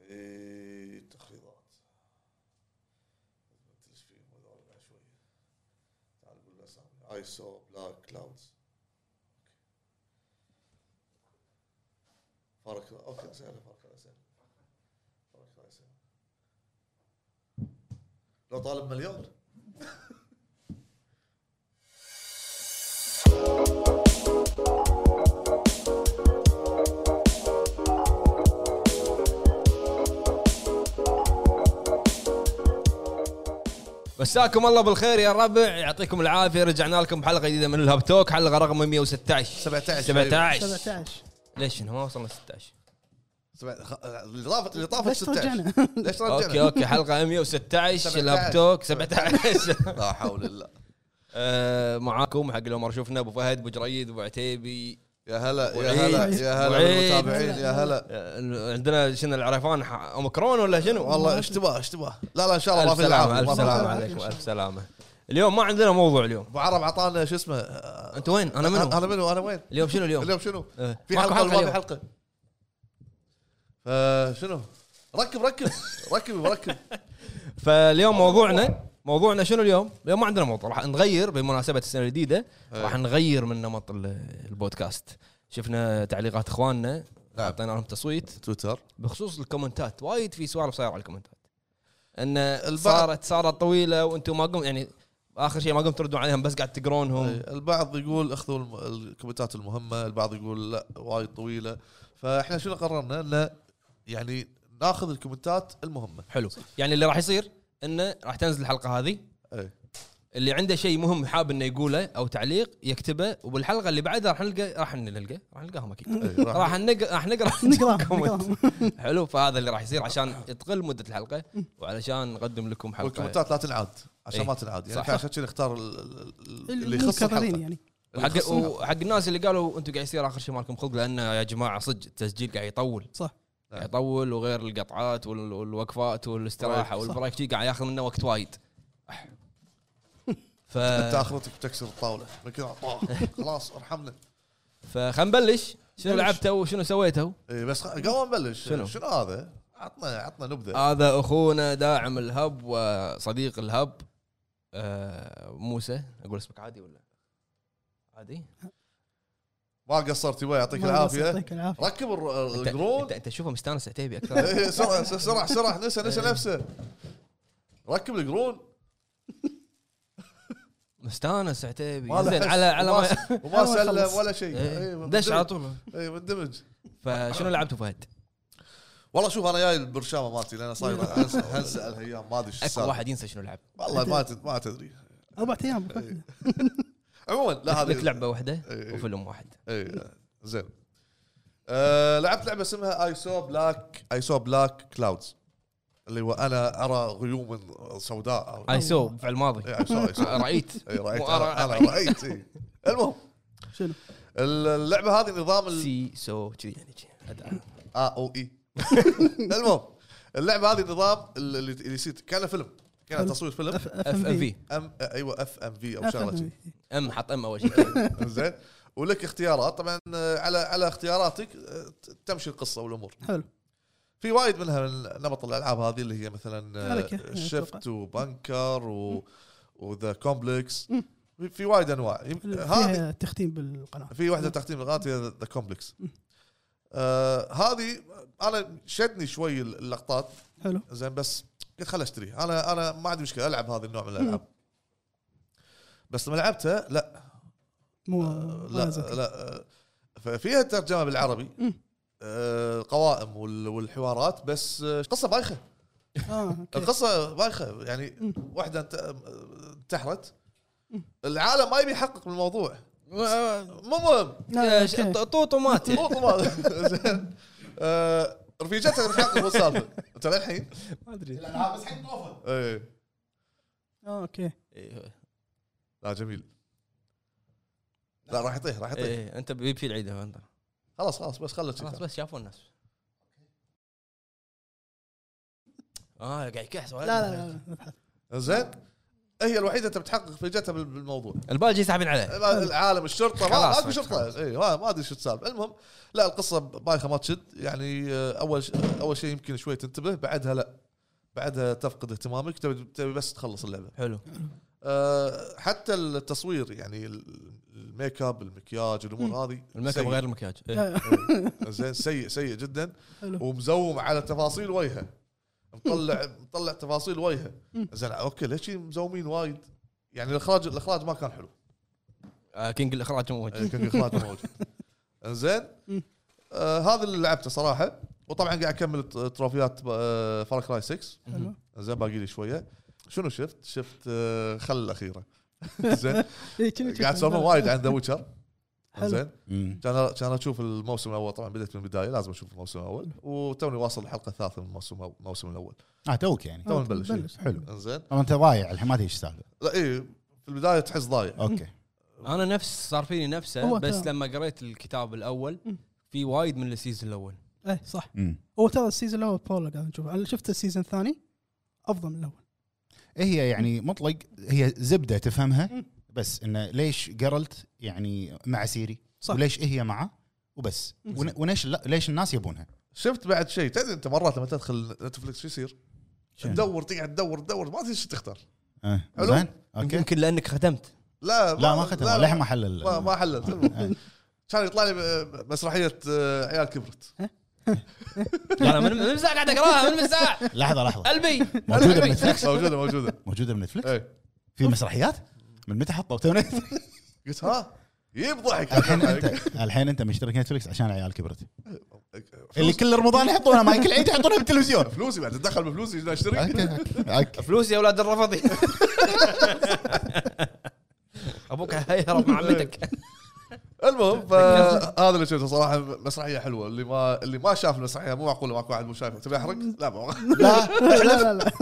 إيه، I saw black clouds. Far Cry. اوكي سهله فار كراي سهله فار كراي سهله لو طالب مليون مساكم الله بالخير يا ربع يعطيكم العافيه رجعنا لكم بحلقه جديده من الهاب توك حلقه رقم 116 17 17 17 ليش إنه ما وصلنا 16 سبع- خ- اللي طافت اللي طافت ليش 16 رجعنا؟ ليش رجعنا؟ اوكي اوكي حلقه 116 الهاب 17. توك 17 لا حول الله آه، معاكم حق لو ما شفنا ابو فهد ابو جريد ابو عتيبي يا هلا يا وعيد. هلا يا هلا وعيد. بالمتابعين يا هلا آه، عندنا شنو العرفان ح- اوميكرون ولا شنو؟ والله اشتباه اشتباه لا لا ان شاء الله ما الف في العاب ما في سلامه الف سلامه العاب. عليكم الف سلامه اليوم ما عندنا موضوع اليوم ابو عرب اعطانا شو اسمه آه، انت وين؟ انا منو؟ انا منو انا وين؟ اليوم شنو اليوم؟ اليوم شنو؟ آه، في ماكو حلقه ولا ما في اليوم. حلقه؟ فشنو؟ ركب ركب ركب ركب فاليوم موضوعنا موضوعنا شنو اليوم؟ اليوم ما عندنا موضوع راح نغير بمناسبه السنه الجديده إيه. راح نغير من نمط ال- البودكاست شفنا تعليقات اخواننا نعم. اعطينا لهم تصويت تويتر بخصوص الكومنتات وايد في سوالف صايره على الكومنتات ان البعض- صارت صارت طويله وانتم ما قمتم يعني اخر شيء ما قمتم تردون عليهم بس قاعد تقرونهم إيه، البعض يقول اخذوا الم- الكومنتات المهمه البعض يقول لا وايد طويله فاحنا شنو قررنا انه يعني ناخذ الكومنتات المهمه حلو يعني اللي راح يصير انه راح تنزل الحلقه هذه إيه. اللي عنده شيء مهم حاب انه يقوله او تعليق يكتبه وبالحلقه اللي بعدها راح نلقى راح نلقى راح نلقاهم اكيد إيه، راح- راح نقرا راح نقرا نقرأهم، كومنت. نقرأهم. حلو فهذا اللي راح يصير عشان تقل مده الحلقه وعلشان نقدم لكم حلقه والكومنتات لا تنعاد عشان إيه. ما تنعاد يعني صح. عشان كذا نختار ال- ال- ال- اللي يخص المكررين الحلقه يعني اللي وحق يخص الحلقة. وحق الناس اللي قالوا انتم قاعد يصير اخر شيء مالكم خلق لان يا جماعه صدق التسجيل قاعد يطول صح قاعد يطول وغير القطعات وال- والوقفات والاستراحه صح. والبريك شي قاعد ياخذ منا وقت وايد أح. ف انت اخرتك بتكسر الطاوله من كذا طاخ. خلاص ارحمنا فخلنا نبلش شنو لعبته وشنو سويته إيه بس خ- قبل ما نبلش شنو؟ آه. شنو هذا؟ عطنا عطنا نبذه هذا اخونا داعم الهب وصديق الهب آه، موسى اقول اسمك عادي ولا عادي ما قصرت يبا يعطيك ما العافيه يعطيك العافيه ركب الر- انت القرون انت, انت شوفه مستانس عتيبي اكثر إيه، سرعه سرعه سرعه نسى نسى إيه. نفسه ركب القرون مستانس عتيبي ما له زين حس. على على وما- ما وما أول سلم خلص. ولا شيء إيه، إيه، مندمج. دش على طول إيه، مندمج فشنو لعبته فهد؟ والله شوف انا جاي البرشامه مالتي لان صاير هنسى هنسى الهيام ما ادري ايش اكو السالفة. واحد ينسى شنو لعب والله ما تد- ما تدري اربع ايام إيه. عموما لا هذه لك لعبه واحده إيه. وفيلم واحد اي إيه، زين آه لعبت لعبه اسمها اي سو بلاك اي سو بلاك كلاودز اللي هو انا ارى غيوم سوداء أو- اي سو بفعل ماضي إيه، I saw- I saw. رايت إيه، رايت مو انا أرى- أنا رايت إيه. المهم شنو؟ اللعبه هذه نظام ال- سي سو كذي يعني شي. أدعى. اه او اي المهم اللعبه هذه نظام ال- اللي اللي يصير كانه فيلم كان فيلم. تصوير فيلم اف اف ام في ام ايوه اف ام في او شغله شي. إيه، ام حط ام اول شيء زين ولك اختيارات طبعا آه، على على اختياراتك آه، ت- تمشي القصه والامور حلو في وايد منها من نمط الالعاب هذه اللي هي آه، مثلا حركة، يعني شيفت أتوقع. وبنكر و وذا كومبلكس في وايد انواع يمكن هذه فيها تختيم بالقناه في واحده تختيم الغات هي ذا كومبلكس آه هذه انا شدني شوي اللقطات حلو زين بس قلت خل اشتري انا انا ما عندي مشكله العب هذا النوع من الالعاب بس لما لعبتها لا آه، مو لا لا آه، ففيها ترجمه بالعربي مم. آه، القوائم وال- والحوارات بس آه، قصه بايخه اه اوكي القصه بايخه يعني مم. واحده انت- انتحرت العالم ما يبي يحقق بالموضوع مو مهم لا، أوكي. طوط ومات مو طبعاً. زين آه، رفيجتها تحقق بالسالفه انت للحين ما ادري الالعاب بس الحين طوفه ايه آه، اوكي إيه، لا جميل لا راح يطيح راح يطيح إيه، انت بيبشي العيد انت خلاص خلاص بس خله خلاص كذا بس شافوا الناس اه قاعد يكحس لا لا لا لا زين هي الوحيده انت بتحقق رفيجتها بال- بالموضوع الباجي ساحبين عليه العالم الشرطه ما خلاص، ما في شرطه اي ما ما ادري شو السالفه المهم لا القصه بايخه ما تشد يعني آه، اول ش- اول شيء يمكن شوي تنتبه بعدها لا بعدها تفقد اهتمامك تبي تبي بس تخلص اللعبه حلو آه، حتى التصوير يعني ال- الميك اب المكياج الامور هذه الميك اب سيء. غير المكياج إيه. آه، زين سيء سيء جدا حلو ومزوم على تفاصيل وجهه مطلع مطلع تفاصيل وجهه زين اوكي ليش مزومين وايد يعني الاخراج الاخراج ما كان حلو آه، كينج الاخراج مو وجه. يعني كان في اخراج موجود زين مم. آه هذا اللي لعبته صراحه وطبعا قاعد اكمل ت- تروفيات آه فار كراي 6 حلو زين باقي لي شويه شنو شفت؟ شفت آه خل الاخيره زين إيه، كنا- كنا- قاعد سولفون وايد عن ذا ويتشر حلو. زين مم. كان كان اشوف الموسم الاول طبعا بديت من البدايه لازم اشوف الموسم الاول وتوني واصل الحلقه الثالثه من الموسم الموسم الاول اه توك آه، يعني تو نبلش. حلو انزين طبعا انت ضايع الحين ما تدري ايش السالفه لا اي في البدايه تحس ضايع اوكي انا نفس صار فيني نفسه هو بس ترى. لما قريت الكتاب الاول مم. في وايد من السيزون الاول ايه صح مم. هو ترى السيزون الاول بولا قاعد نشوفه انا شفت السيزون الثاني افضل من الاول إيه هي يعني مطلق هي زبده تفهمها بس انه ليش جرلت يعني مع سيري صح. وليش إيه هي معه وبس مم. ون- وليش لا- ليش الناس يبونها شفت بعد شيء تدري انت مرات لما تدخل نتفلكس شو يصير؟ تدور تقعد تدور تدور ما تدري ايش تختار آه، حلو. زين اوكي يمكن لانك ختمت لا لا ما ختم للحين ما حلل ما, ما حللت آه. كان يطلع لي ب- مسرحيه آه، عيال كبرت انا من من الساعه قاعد اقراها من الساعه لحظه لحظه قلبي موجوده بنتفلكس موجوده موجوده موجوده بنتفلكس اي في مسرحيات من متى حطوا تو نت؟ قلت ها يجيب ضحك الحين انت الحين انت مشترك نتفلكس عشان العيال كبرت اللي فلوس- كل رمضان يحطونها مايكل عيد يحطونها بالتلفزيون فلوسي بعد تدخل بفلوسي عشان أه. اشتري أوكي، أوكي، أوكي. فلوس يا اولاد الرفضي ابوك هيهرب مع عمتك المهم فهذا اللي شفته صراحه مسرحيه حلوه اللي ما اللي ما شاف المسرحيه مو معقول ماكو واحد مو شايفها تبي احرق؟ لا ما لا لا لا لا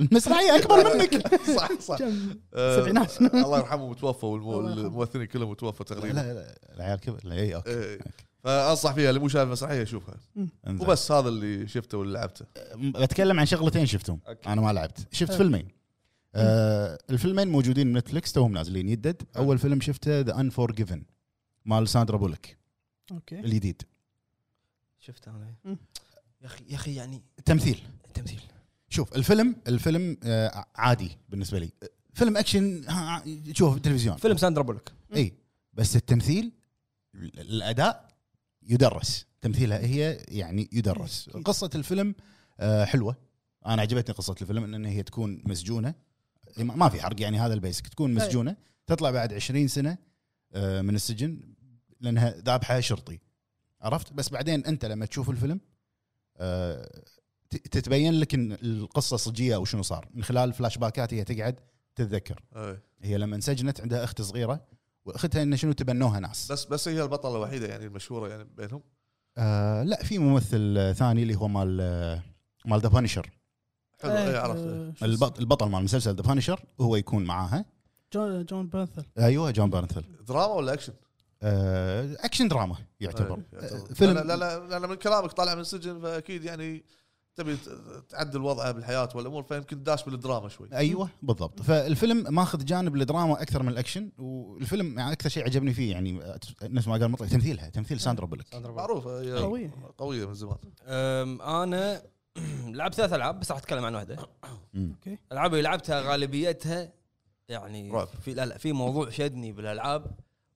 المسرحيه اكبر منك صح صح كم آه، سبعينات. الله يرحمه متوفى والمو- الله يرحمه. الممثلين كلهم متوفى لا تقريبا لا لا، العيال كبر لا، اي اوكي إيه. فانصح فيها اللي مو شايف المسرحيه يشوفها انزين. وبس هذا اللي شفته واللي لعبته بتكلم عن شغلتين شفتهم أوكي. انا ما لعبت شفت حلو. فيلمين آه الفيلمين موجودين بنتفلكس توهم نازلين يدد اول فيلم شفته ذا انفورجيفن مال ساندرا بولك اوكي الجديد شفت انا مم. يا اخي يا اخي يعني تمثيل تمثيل شوف الفيلم الفيلم آه عادي بالنسبه لي فيلم اكشن ها، تشوفه بالتلفزيون فيلم ساندرا بولك اي إيه، بس التمثيل ال- الاداء يدرس تمثيلها هي يعني يدرس أكيد. قصه الفيلم آه، حلوه انا عجبتني قصه الفيلم ان إن هي تكون مسجونه ما ما في حرق يعني هذا البيسك تكون مسجونه تطلع بعد 20 سنه آه، من السجن لانها ذابحه شرطي عرفت بس بعدين انت لما تشوف الفيلم آه، ت- تتبين لك ان القصه صجيه او شنو صار من خلال فلاش باكات هي تقعد تتذكر إيه. هي لما انسجنت عندها اخت صغيره واختها انه شنو تبنوها ناس بس بس هي البطله الوحيده يعني المشهوره يعني بينهم آه لا في ممثل آه، ثاني اللي هو مال آه، مال ذا بانشر حلو إيه، اي عرفت البطل مال مسلسل ذا بانشر هو يكون معاها جون جون بيرثل ايوه جون بارنثل دراما ولا اكشن؟ آه اكشن دراما يعتبر إيه، يعتبر. آه، فيلم لا لا لا لأن من كلامك طالع من السجن فاكيد يعني تبي ت- تعدل وضعه بالحياه والامور فيمكن داش بالدراما شوي ايوه بالضبط فالفيلم ماخذ جانب الدراما اكثر من الاكشن والفيلم يعني اكثر شيء عجبني فيه يعني آه، نفس ما قال مطلع تمثيلها تمثيل طيب. ساندرا بولك معروفه هي قوية. قويه من زمان أم، انا لعبت ثلاث العاب بس راح اتكلم عن واحده مم. الالعاب اللي لعبتها غالبيتها يعني رعب. في لا لا في موضوع شدني بالالعاب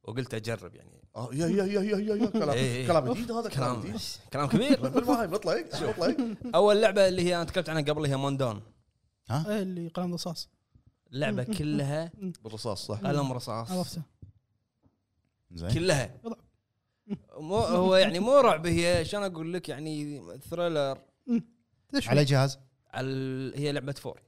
وقلت اجرب يعني آه، يا يا يا يا يا يا إيه، إيه. كلام كلام جديد هذا كلام كلام جديد كلام كبير بالمهم مطلع هيك، شو مطلع هيك؟ اول لعبه اللي هي انا تكلمت عنها قبل هي موندون إيه، اللي قلم رصاص اللعبه مم. كلها بالرصاص صح قلم رصاص عرفته زين كلها رعب. مو هو يعني مو رعب هي شلون اقول لك يعني ثريلر ليش على جهاز على ال- هي لعبه فور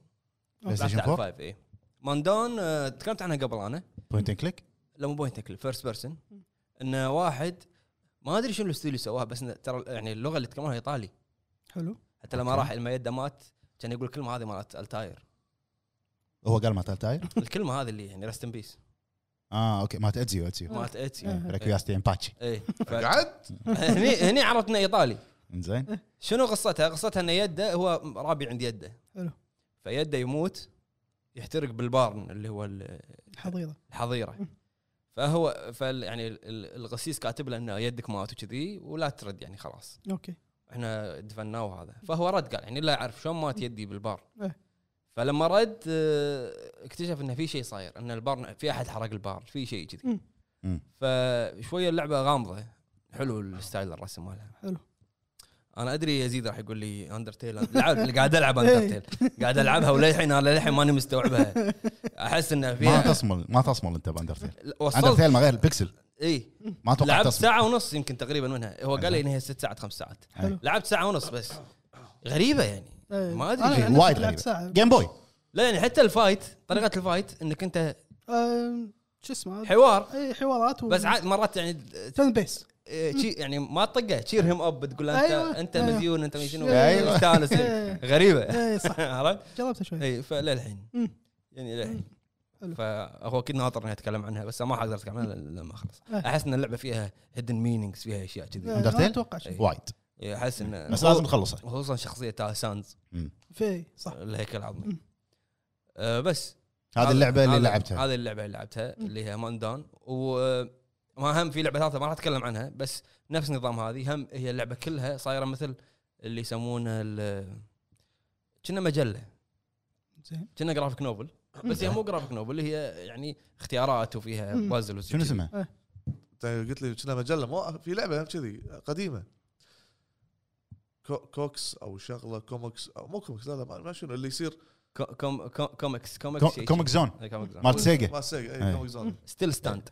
بلاي ستيشن لعبت على 4 فايف اي ماندون آه، eh? تكلمت عنها قبل انا بوينت اند كليك لا مو بوينت تكل فيرست بيرسون انه واحد ما ادري شنو الاستوديو اللي سواها بس إنه ترى يعني اللغه اللي يتكلمونها ايطالي حلو حتى لما أوكي. راح لما يده مات كان يقول الكلمه هذه مالت التاير هو قال مالت تاير الكلمه هذه اللي يعني رست ان بيس اه اوكي مالت اتزيو اتزيو مالت ايتسي آه. ريكويستي امباتشي اي قعد هني هني عرفت انه ايطالي زين شنو قصتها؟ قصتها ان يده هو رابي عند يده حلو. فيده يموت يحترق بالبارن اللي هو ال- الحضيضه الحظيره فهو فال يعني ال- ال- القسيس كاتب له انه يدك مات وكذي ولا ترد يعني خلاص اوكي احنا دفناه وهذا فهو رد قال يعني لا اعرف شلون مات يدي بالبار إيه. فلما رد آه، اكتشف انه في شيء صاير ان البار في احد حرق البار في شيء كذي مم. مم. فشويه اللعبه غامضه حلو الستايل الرسم مالها حلو انا ادري يزيد راح يقول لي اندرتيل لعب قاعد العب إيه. اندرتيل قاعد العبها وللحين انا للحين ماني مستوعبها احس انه ما فيها تصمل ما تصمل انت باندرتيل لا، وصلت إيه. اندرتيل ما غير البكسل اي ما اتوقع لعبت تصمل ساعه ونص يمكن تقريبا منها هو قال لي ان هي ست ساعات خمس ساعات حلو لعبت ساعه ونص بس غريبه يعني إيه. ما ادري أنا عن ليه. نفسي وايد لعبت غريبة. ساعة جيم بوي لا يعني حتى الفايت طريقه الفايت انك انت آه، شو اسمه حوار اي حوارات و... بس عاد مرات يعني تن بيس إيه، شي- يعني ما تطقه تشير هيم اب تقول له انت أيوة. انت أيوة. مزيون انت مزيون أيوة. تستانس إيه. غريبه اي صح عرفت؟ جربتها إيه. شوي اي فللحين مم. يعني للحين حلو. فهو كنت ناطر اني اتكلم عنها بس ما اقدر اتكلم عنها لما اخلص إيه. احس ان اللعبه فيها هيدن مينينجز فيها اشياء كذي Undertale؟ ما اتوقع شيء إيه. وايد احس ان بس لازم نخلصه خصوصا شخصيه تا ساندز مم. في إيه، صح الهيكل العظمي مم. أه بس هذه اللعبه اللي هذا- لعبتها هذه اللعبه اللي لعبتها مم. اللي هي ماندان وما هم في لعبه ثالثه آه، ما راح اتكلم عنها بس نفس نظام هذه هم هي اللعبه كلها صايره مثل اللي يسمونها ال- كنا مجله زين كنا جرافيك نوفل بس هي مو جرافيك نوفل هي يعني اختيارات وفيها مم. بازل شنو اسمها؟ انت قلت لي كنا مجله مو في لعبه كذي قديمه كو كوكس او شغله كومكس أو مو كومكس لا لا ما ما شنو اللي يصير كو- كوم- كو- كوميكس كوميكس كو- شيء- كوميك زون إيه، كوميكس مالت سيجا ما سيجا أي. اي كوميك زون ستيل ستاند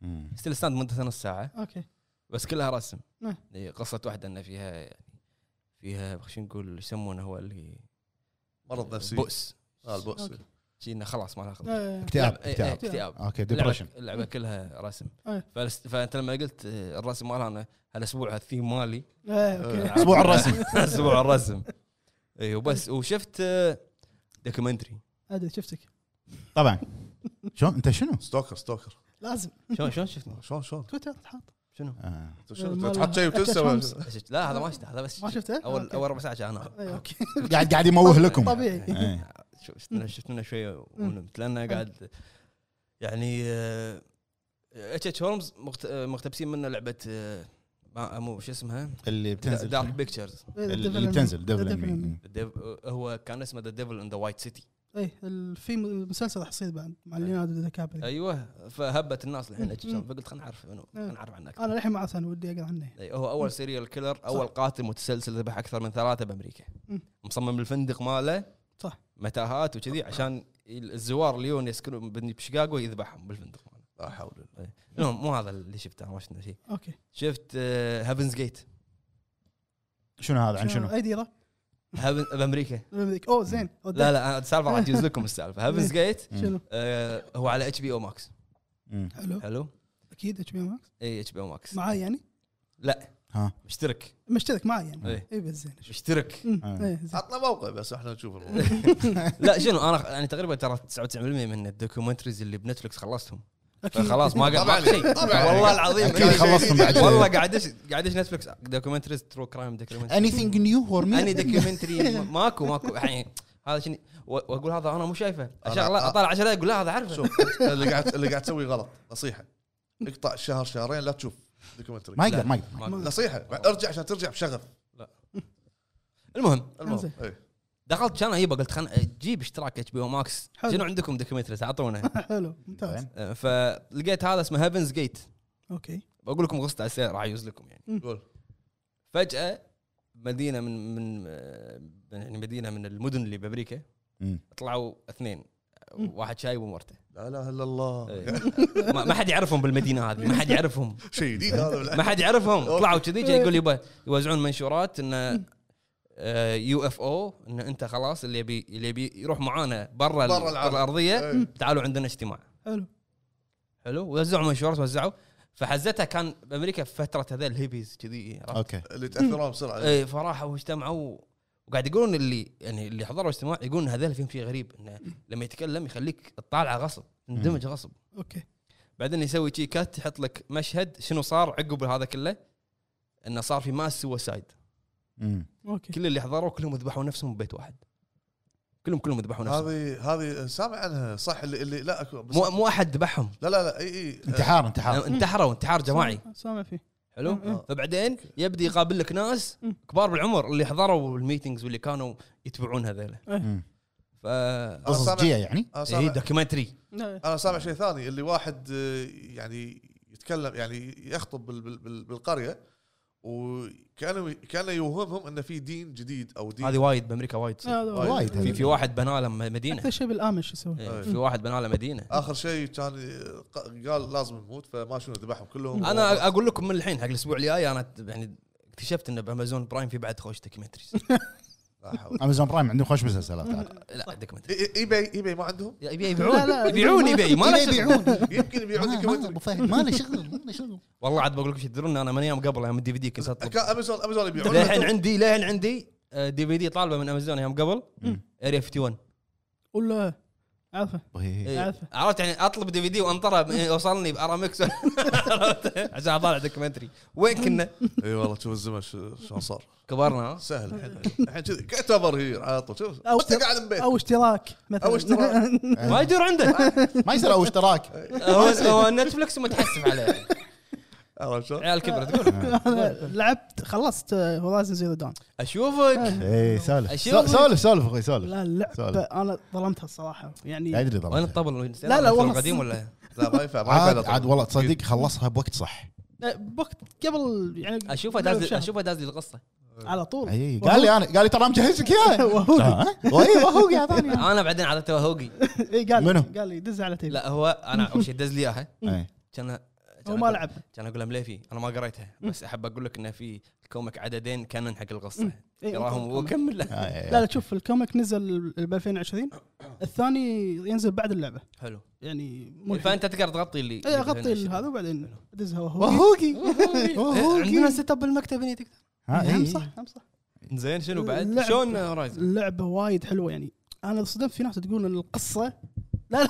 مم. ستيل ستاند مدته نص ساعه اوكي بس كلها رسم إيه، نعم. هي قصه واحده ان فيها يعني فيها خلينا نقول يسمونه هو اللي مرض نفسي بؤس اه البؤس أوكي. شينا خلاص ما ناخذ إيه. اكتئاب إيه، إيه، اكتئاب آه، اكتئاب اوكي اللعبه ديبرشن اللعبة كلها رسم إيه. فالس- فانت لما قلت آه، الرسم مال انا هالاسبوع الثيم مالي إيه، اوكي أسبوع الرسم. اسبوع الرسم اي وبس وشفت آه، دوكيومنتري ادري شفتك طبعا شلون انت شنو؟ ستوكر ستوكر لازم شلون شلون شفنا شلون شلون تويتر تحط شنو آه. أنت شنو مال- تحط شيء شمس. وتنسى بس- لا هذا ما شفته هذا بس ما شفته؟ اول أوكي. اول ربع ساعه انا إيه، اوكي قاعد قاعد يموه لكم طبيعي. إيه. شفت لنا شفت لنا شويه ونمت لان قاعد يعني اتش اتش هولمز مقتبسين منه لعبه آه، ما- مو شو اسمها اللي بتنزل دارك بيكتشرز إيه، اللي بتنزل ديفل إن مي. آه، هو كان اسمه ذا ديفل ان ذا وايت سيتي اي إيه، في مسلسل راح يصير بعد مع ليوناردو دي كابري ايوه فهبت الناس الحين مم. H.H. Holmes، فقلت خلينا نعرف منو خلينا نعرف عنه اكثر انا للحين ما اعرف انا ودي اقرا عنه أي، يعني هو اول سيريال كيلر اول قاتل متسلسل ذبح اكثر من ثلاثه بامريكا مم. مصمم الفندق ماله صح. متاهات وكذي عشان ال- الزوار ليون يسكنون بن- بشيكاغو يذبحهم بالفندق ماله لا حول ولا قوة. المهم مو هذا اللي شفته أنا ما شفنا شيء اوكي شفت آه، هافنز جيت شنو هذا عن شنو؟ اي ديره بامريكا اوه زين لا لا أنا السالفه راح اجيز لكم السالفه هافنز جيت شنو آه، هو على اتش بي او ماكس مم. حلو حلو إيه، اكيد اتش بي ماكس اي اتش بي او ماكس معاي يعني ها مشترك مشترك معاي يعني إيه. اي بس زين مشترك أمم، آه. إيه، زين. عطنا موقع بس احنا نشوف الموقع لا شنو انا يعني تقريبا ترى 99% من الدوكيومنتريز اللي بنتفلكس خلصتهم اكيد فخلاص ما قاعد ما في شيء طبعاً. والله العظيم اكيد خلصتم بعد والله قاعد ايش قاعد ايش نتفلكس دوكيومنتريز ترو كرايم دوكيومنتري anything new for اني me دوكيومنتري ماكو ماكو يعني هذا شنو و- واقول هذا انا مو شايفه أنا- اشغله اطالع عشان اقول لا هذا عارفه شوف اللي قاعد اللي قاعد تسوي غلط نصيحه اقطع شهر شهرين لا تشوف دوكيومنتري ما يقدر ما يقدر ماكو. نصيحه بعد ارجع عشان ترجع بشغف المهم المهم إنزين. إيه. دخلت كان اجيبه قلت خلنا جيب اشتراك اتش بي او ماكس حلو. شنو عندكم دوكيومنتريز اعطونا حلو ممتاز زين. أه، فلقيت هذا اسمه هيفنز جيت اوكي بقول لكم غصت على السير راح يعوز لكم يعني قول فجاه مدينه من من آه، يعني مدينه من المدن اللي بامريكا مم. طلعوا اثنين مم. واحد شايب ومرته لا اله الا الله إيه. ما ما حد يعرفهم بالمدينه هذه ما حد يعرفهم شيء جديد هذا ولا- ما حد يعرفهم طلعوا كذي جاي يقول يبا يوزعون منشورات انه يو اف او ان انت خلاص اللي يبي اللي يبي يروح معانا برا ال- برا العالم. الارضيه إيه. تعالوا عندنا اجتماع حلو حلو وزعوا منشورات وزعوا فحزتها كان بامريكا في فتره هذول الهيبيز كذي عرفت؟ اوكي اللي تاثرون بسرعه اي فراحوا واجتمعوا وقاعد يقولون اللي يعني اللي حضروا الاجتماع يقولون هذول فيهم شيء غريب انه لما يتكلم يخليك تطالعه غصب تندمج غصب اوكي بعدين يسوي شي كات يحط لك مشهد شنو صار عقب هذا كله انه صار في ماس سوسايد مم. اوكي كل اللي حضروا كلهم ذبحوا نفسهم ببيت واحد كلهم كلهم ذبحوا نفسهم هذه هذه سامع عنها صح اللي, اللي لا أكو بس مو مو احد ذبحهم يعني لا لا لا اي اي انتحار انتحار انتحروا انتحار جماعي سامع- سامع فيه حلو آه. مم. آه. فبعدين يبدي يقابل لك ناس مم. كبار بالعمر اللي حضروا الميتينجز واللي كانوا يتبعون هذيلا مم. ف آه، إيه، قصص سامع- جيه يعني انا هي سامع دوكيومنتري لا، انا سامع شيء ثاني اللي واحد آه، يعني يتكلم يعني يخطب بال- بال- بال- بالقريه وكانوا كان يوهمهم انه في دين جديد او دين هذه وايد بامريكا وايد تصير. هذا وايد. وايد في في واحد بنى له مدينه اكثر شيء بالامش يسوي إيه، في واحد بنى له مدينه اخر شيء كان آه، ق- قال لازم نموت فما شنو ذبحهم كلهم انا اقول لكم من الحين حق الاسبوع الجاي انا يعني اكتشفت انه بامازون برايم في بعد خوش دوكيومنتريز لا حول. امازون برايم عندهم خوش مسلسلات عاد. لا دوكيومنتري إي- إي- ايباي ايباي ما عندهم لا، يبيعون لا، يبيعون ما- يبيع ما له شغل. يمكن يبيعون ما- ما- دوكيومنتري أبو فهد، ما له شغل ما له شغل والله عاد بقول لكم شو تدرون انا من ايام قبل ايام الدي في دي كنت اطلب كان امازون امازون يبيعون للحين عندي للحين عندي آه، دي في دي طالبه من امازون ايام قبل مم. اريا 51 ولا عارفه وهي- إيه. عارفه. عرفت يعني اطلب دي في دي وانطره وصلني بارامكس عشان اطالع دوكيومنتري وين كنا؟ اي والله شوف الزمن شو- شلون صار كبرنا ها؟ سهل الحين الحين كذي تعتبر هي على طول شوف أو انت قاعد من بيت او اشتراك مثلا أو اشتراك. ما يدور عنده ما يصير او اشتراك هو هو نتفلكس متحسف عليه عرفت شلون؟ عيال كبرت تقول أنا لعبت خلصت آه، هورايزن زيرو دون اشوفك ايه سولف أشوفك. سولف سولف اخوي سولف لا سؤال. اللعبه انا ظلمتها الصراحه لا يعني ادري وين طبعا الطبل لا، لا، والله القديم ولا لا ما ينفع ما ينفع عاد لا عاد طبعاً. والله تصدق خلصها بوقت صح بوقت قبل يعني اشوفه قبل داز شهر. اشوفه داز لي القصه على طول اي إيه، قال لي آه. انا قال لي ترى مجهز لك اياه وهو- اي وهو يا ثاني انا بعدين على توهقي اي إيه، قال منو؟ قال لي دز على تيبي لا هو انا اول شيء دز لي اياها إيه. كان هو ما لعب كان اقول لهم ليه في انا ما قريتها بس احب اقول لك انه في الكوميك عددين كانون حق القصه إيه، يراهم الكوميك. واكمل له آه، إيه. لا لا شوف الكوميك نزل ب 2020 الثاني ينزل بعد اللعبه حلو يعني مو الحين. فانت إيه، تقدر تغطي اللي اي اغطي إيه، هذا وبعدين ادزها وهو وهوقي إيه، عندنا سيت اب بالمكتب هنا تقدر ها، هم إيه. نعم، صح هم صح زين شنو بعد اللعب- شلون هورايزن اللعبه وايد حلوه يعني انا صدمت في ناس تقول ان القصه لا لا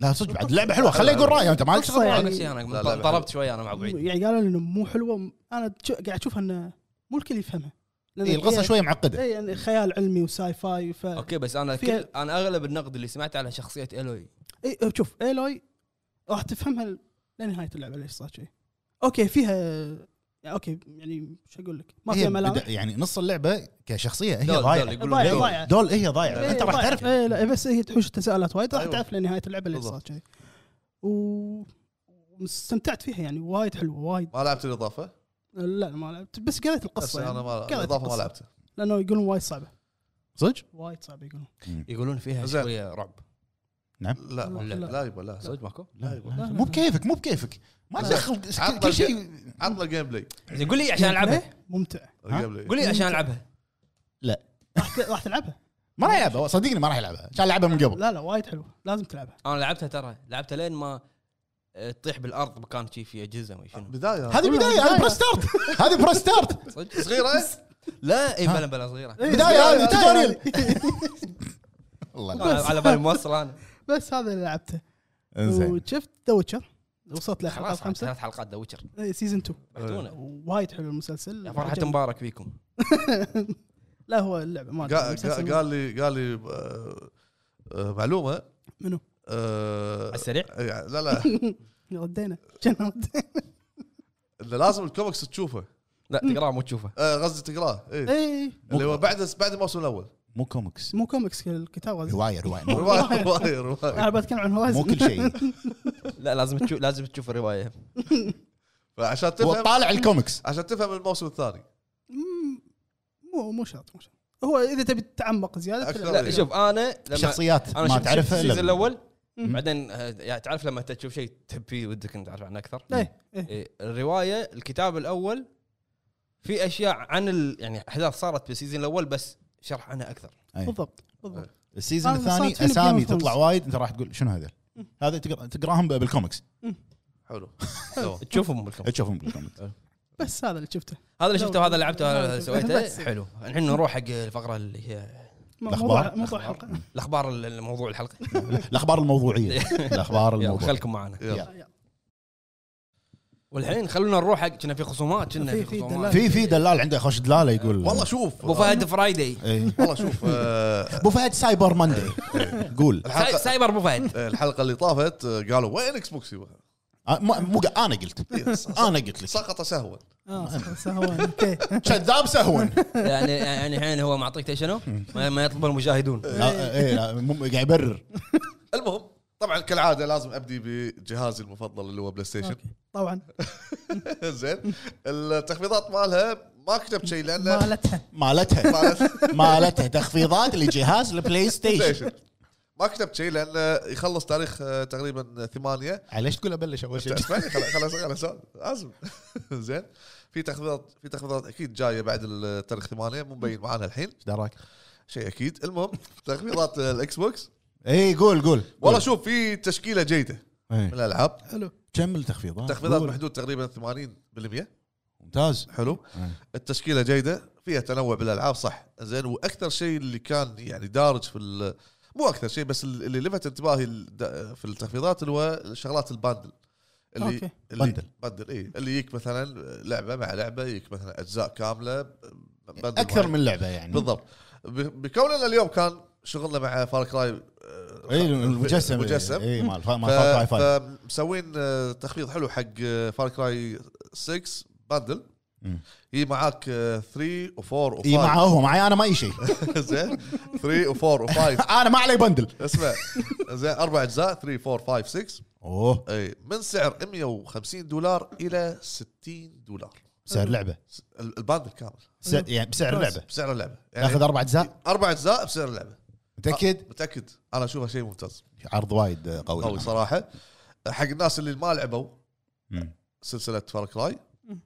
لا صدق بعد اللعبه حلوه خليه يقول رايه انت مالك شغل قصة رايه يعني. أنا شي لا، لا، انا لا. ضربت شويه انا مع ابو عيد يعني قالوا لي انه مو حلوه انا تش- قاعد اشوفها انه مو الكل يفهمها لأن إيه، القصه فيها- شويه معقده اي يعني خيال علمي وساي فاي ف اوكي بس انا فيها- كل انا اغلب النقد اللي سمعته على شخصيه الوي إيه شوف ايلوي راح تفهمها ل- لنهايه اللعبه ليش صار شيء اوكي فيها يعني اوكي يعني شو اقول لك ما هي فيها بدا- ملامح يعني نص اللعبه كشخصيه هي دول- دول ضايعه يقولون ضايع- دول. ضايع. دول هي ضايعه إيه، انت راح تعرف اي لا بس هي تحوش التساؤلات وايد راح أيوة. تعرف لنهايه اللعبه ليش صار بالضبط. شيء و استمتعت فيها يعني وايد حلوه وايد ما لعبت الاضافه لا ما لعبت بس قريت بس القصه انا يعني. ما كانت الاضافه ما قصة. لعبتها لانه يقولون وايد صعبه صدق وايد صعبه يقولون يقولون فيها زين. شويه رعب لا لا. لا يبا لا صدق ماكو لا يبا مو بكيفك مو بكيفك ما لا. تدخل عطنا كل شيء عطنا Oh, الجيم بلاي زين قول لي عشان العبها ممتع ها؟ الجيم بلاي قول لي عشان العبها راح ت- راح تلعبها ما راح يلعبها صدقني ما راح يلعبها كان لعبها من قبل لا لا وايد حلوه لازم تلعبها انا لعبتها ترى لعبتها لين ما آه، تطيح بالارض مكان شي في اجهزه ما شنو بدايه هذه بدايه هذه برو ستارت هذه برو ستارت صدق صغيره لا اي ها. بلا بلا صغيره إيه، بدايه بداية، هذه توتوريال الله أنا على بالي موصل انا بس هذا اللي لعبته انزين وشفت ذا ويتشر وصلت لحلقه خلاص خمسه ثلاث حلقات ذا ويتشر إيه، سيزون 2 بعتونا وايد حلو المسلسل يا فرحة عجبني. مبارك فيكم لا هو اللعبه ما أدري، قا- المسلسل قا- قال لي قال لي آه، آه، معلومه منو؟ آه، على السريع يعني لا لا ردينا كنا ردينا. إنه لازم الكوميكس تشوفه لا تقراه مو تشوفه آه، قصدي تقراه إيه. اي اللي هو بعد بعد الموسم الاول مو كوميكس مو كوميكس الكتاب غزي. روايه روايه مو- روايه روايه روايه انا بتكلم عن إيه، مو هورايزن كل شيء لا لازم تشوف لازم تشوف الروايه فعشان تفهم وطالع الكوميكس عشان تفهم الموسم الثاني مم، مو مو شرط مو شرط هو اذا تبي تتعمق زياده أكثر. تلعب. لا شوف انا لما شخصيات انا ما شفت تعرفها السيزون الا الاول مم. بعدين آه، يعني تعرف لما انت تشوف شيء تحب فيه ودك انت تعرف عنه اكثر إيه، إيه. إيه، الروايه الكتاب الاول في اشياء عن ال... يعني احداث صارت بالسيزون الاول بس شرح عنها اكثر إيه. بالضبط بالضبط السيزون أنا صارت الثاني فيني بجيم اسامي أوف ثرونز. تطلع وايد انت راح تقول شنو هذا هذا تقرا- تقراهم بالكوميكس حلو تمام. تشوفهم بالكم تشوفهم بالكوميكس بس هذا اللي شفته هذا اللي شفته وهذا اللي لعبته وهذا اللي بس. سويته حلو الحين نروح حق الفقره اللي هي م- موضوع الأخبار. موضوع حلقه الاخبار الموضوع الحلقه الاخبار الموضوعيه الاخبار يلا الموضوعيه خلكم معنا آه، يلا. والحين خلونا نروح حق كنا في خصومات كنا في في- في خصومات في في دلال عنده خوش دلاله يقول والله شوف ابو فهد فرايدي إيه. والله شوف آه، ابو فهد سايبر ماندي قول ساي- الحلقه سايبر ابو فهد إيه، الحلقه اللي طافت آه، قالوا وين اكس بوكس يبا؟ آه، ما- مو قا- انا قلت يس. انا قلت لك سقط سهوا اه سهوان اوكي كذاب سهوا إيه. يعني يعني الحين هو معطيك تدري شنو؟ ما ما يطلب المشاهدون لا، إيه، لا، مو- قاعد يبرر المهم طبعا كالعاده لازم ابدي بجهازي المفضل اللي هو بلاي ستيشن أوكي. طبعا زين التخفيضات مالها ما كتبت شيء لان مالتها مالتها مالت مالتها تخفيضات لجهاز البلاي ستيشن ستيشن ما كتبت شيء لان يخلص تاريخ آه، تقريبا 8 ليش تقول ابلش اول شيء؟ اسمعني خلاص خلاص خلاص آه، لازم زين في تخفيضات في تخفيضات اكيد جايه بعد ال- تاريخ 8 مو مبين معانا الحين ايش دراك؟ شيء اكيد المهم تخفيضات الاكس بوكس اي إيه، قول قول والله قول. شوف في تشكيله جيده إيه. من الالعاب حلو كم التخفيضات؟ تخفيضات قول. بحدود تقريبا 80% ممتاز حلو إيه. التشكيله جيده فيها تنوع بالالعاب صح زين واكثر شيء اللي كان يعني دارج في ال- مو اكثر شيء بس اللي لفت انتباهي ال- دا- في التخفيضات اللي هو شغلات الباندل اللي أوكي. اللي بندل. بندل اي اللي يجيك مثلا لعبه مع لعبه يجيك مثلا اجزاء كامله بندل اكثر معين. من لعبه يعني بالضبط ب- بكوننا اليوم كان شغلنا مع فار كراي اي إيه، المجسم المجسم اي مال فا- ف- مال فار كراي فايف. آه، فمسوين آه، تخفيض حلو حق آه، فار كراي 6 باندل مم. هي معاك آه، 3 و4 و5 اي معه هو إيه، معي انا ما اي شيء زين 3 و4 و5 انا ما علي بندل اسمع زين اربع اجزاء 3 4 5 6 اوه اي من سعر 150 دولار الى 60 دولار بسعر لعبه س- ال- الباندل كامل بس- يعني بسعر ممتاز. لعبه بسعر اللعبه ناخذ اربع اجزاء اربع اجزاء بسعر اللعبه متاكد متاكد انا اشوفها شيء ممتاز عرض وايد قوي قوي صراحه حق الناس اللي ما لعبوا مم. سلسله فار كراي مم.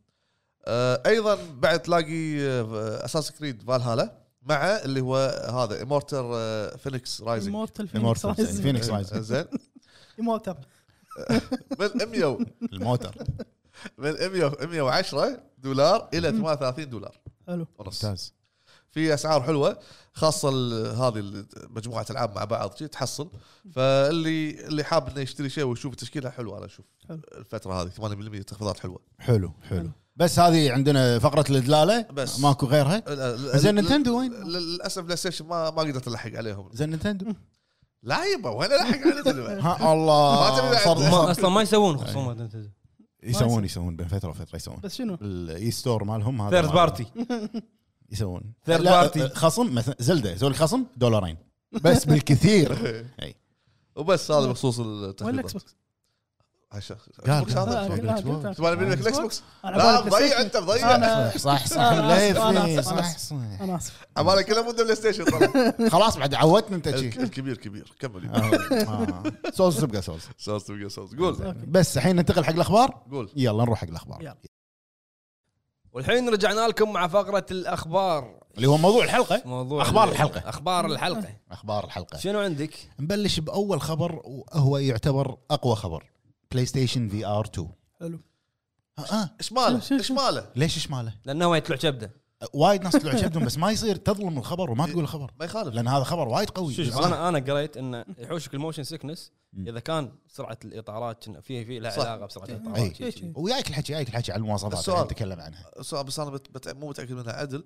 آه ايضا بعد تلاقي آه، اساس كريد فالهالا مع اللي هو هذا آه، امورتر فينيكس رايزنج امورتال فينيكس المورتر رايزنج فينيكس رايز آه، زين امورتال من 100 و- الموتر من 100 و- 110 دولار الى 38 دولار حلو ونص ممتاز في اسعار حلوه خاصه ال- هذه ال- مجموعه العاب مع بعض شي تحصل فاللي اللي حاب انه يشتري شيء ويشوف تشكيلها حلوه انا اشوف حلو. الفتره هذه 8% تخفيضات حلوه حلو حلو حلو. بس هذه عندنا فقره الدلاله بس. ماكو غيرها زين نينتندو وين؟ للاسف بلاي ستيشن ما ما قدرت الحق عليهم زين نينتندو لا يبا وين الحق عليهم ها الله ما تبي صار- بعد. صار- اصلا ما يسوون خصومات يسوون يسوون بين فتره وفتره يسوون بس شنو؟ الاي ستور مالهم هذا ثيرد مال- بارتي يسوون Third لا، party. خصم مثلا زلده يسوي لك خصم دولارين بس بالكثير وبس هذا بخصوص وين الاكس التخفيضات بوكس؟ عشان- قال. إيش هذا؟ تبغى قال. آه، نبي لك الاكس بوكس؟ لا مضيع انت مضيع انا صح صح آه، أنا آسف، أنا مليفني، آسف، أنا صح آسف. صح. انا اسف عماله كلها مده بلاي ستيشن طلع خلاص بعد عودتنا انت شي. ال- الكبير كبير كمل آه، آه. صوص تبقى صوص صوت تبقى صوت قول أوكي. يعني. بس الحين ننتقل حق الاخبار قول يلا نروح حق الاخبار يلا. والحين رجعنا لكم مع فقره الاخبار اللي هو موضوع الحلقه موضوع أخبار ال- الحلقة. اخبار الحلقه اخبار الحلقه شنو عندك؟ نبلش باول خبر وهو يعتبر اقوى خبر بلاي ستيشن في ار 2 حلو آه, اه ايش ماله؟ شو- شو- ايش ماله؟ ليش ايش ماله؟ لانه هو يطلع كبده وايد ناس طلعوا شبدهم بس ما يصير تظلم الخبر وما تقول الخبر ما يخالف لان هذا خبر وايد قوي شوف بالعكس. انا انا قريت انه يحوشك الموشن سيكنس مم. اذا كان سرعه الاطارات كنا- في في لها صح. علاقه بسرعه إيه. الاطارات شي- إيه. شي. وياك الحكي ياك الحكي على المواصفات السؤال. اللي نتكلم عنها بس بس انا بت- بت- مو متاكد منها عدل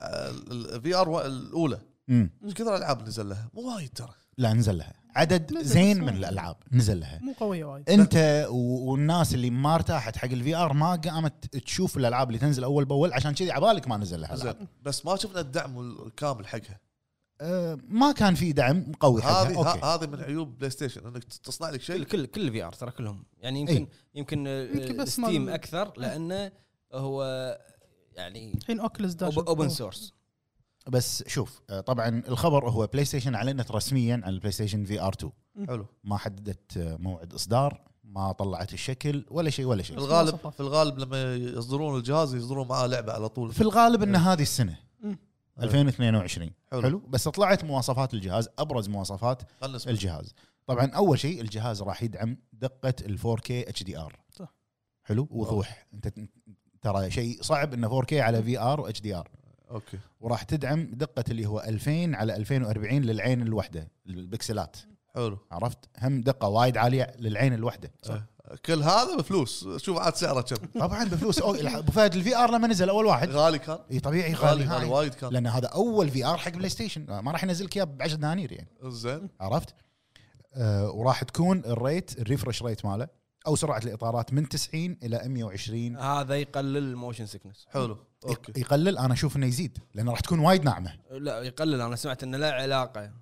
آه، الفي ار الاولى مم. ايش كثر العاب نزل لها؟ مو وايد ترى لا نزل لها عدد نزل زين بس من ما- الالعاب نزل لها مو قويه وايد انت و- والناس اللي ما ارتاحت حق الفي ار ما قامت تشوف الالعاب اللي تنزل اول باول عشان كذي عبالك ما نزل لها ألعاب. زين بس ما شفنا الدعم الكامل حقها أه ما كان في دعم قوي حقها هذه اوكي ه- هذه من عيوب بلاي ستيشن انك تصنع لك كل شيء كل كل في ار ترى كلهم يعني يمكن إيه. يمكن, يمكن يمكن بس ستيم ما- اكثر لانه هو يعني الحين اوكلس داش اوبن سورس بس شوف أه، طبعا الخبر هو بلاي ستيشن اعلنت رسميا عن البلاي ستيشن في ار 2 حلو ما حددت أه، موعد اصدار ما طلعت الشكل ولا شيء ولا في شيء الغالب في الغالب لما يصدرون الجهاز يصدرون معاه لعبه على طول في الغالب ان هذه السنه مم. 2022 حلو. حلو. حلو بس طلعت مواصفات الجهاز ابرز مواصفات خلنا نسمع. الجهاز طبعا اول شيء الجهاز راح يدعم دقه ال 4K HDR صح. حلو وضوح انت ت- ترى شيء صعب انه 4K على VR و HDR اوكي وراح تدعم دقه اللي هو 2000 على 2040 للعين الواحده البكسلات حلو عرفت هم دقه وايد عاليه للعين الواحده آه. كل هذا بفلوس شوف عاد سعره كم طبعا بفلوس أو- ابو فهد الفي ار لما نزل اول واحد غالي كان اي طبيعي غالي غالي غالي هاي. وايد كان لان هذا اول في ار حق بلاي ستيشن ما راح ينزل لك اياه ب 10 دنانير يعني زين عرفت؟ آه وراح تكون الريت الريفرش ريت ماله او سرعه الاطارات من 90 الى 120 آه، هذا يقلل الموشن سيكنس حلو اوكي يق- يقلل انا اشوف انه يزيد لانه راح تكون وايد ناعمه لا يقلل انا سمعت انه لا علاقه يعني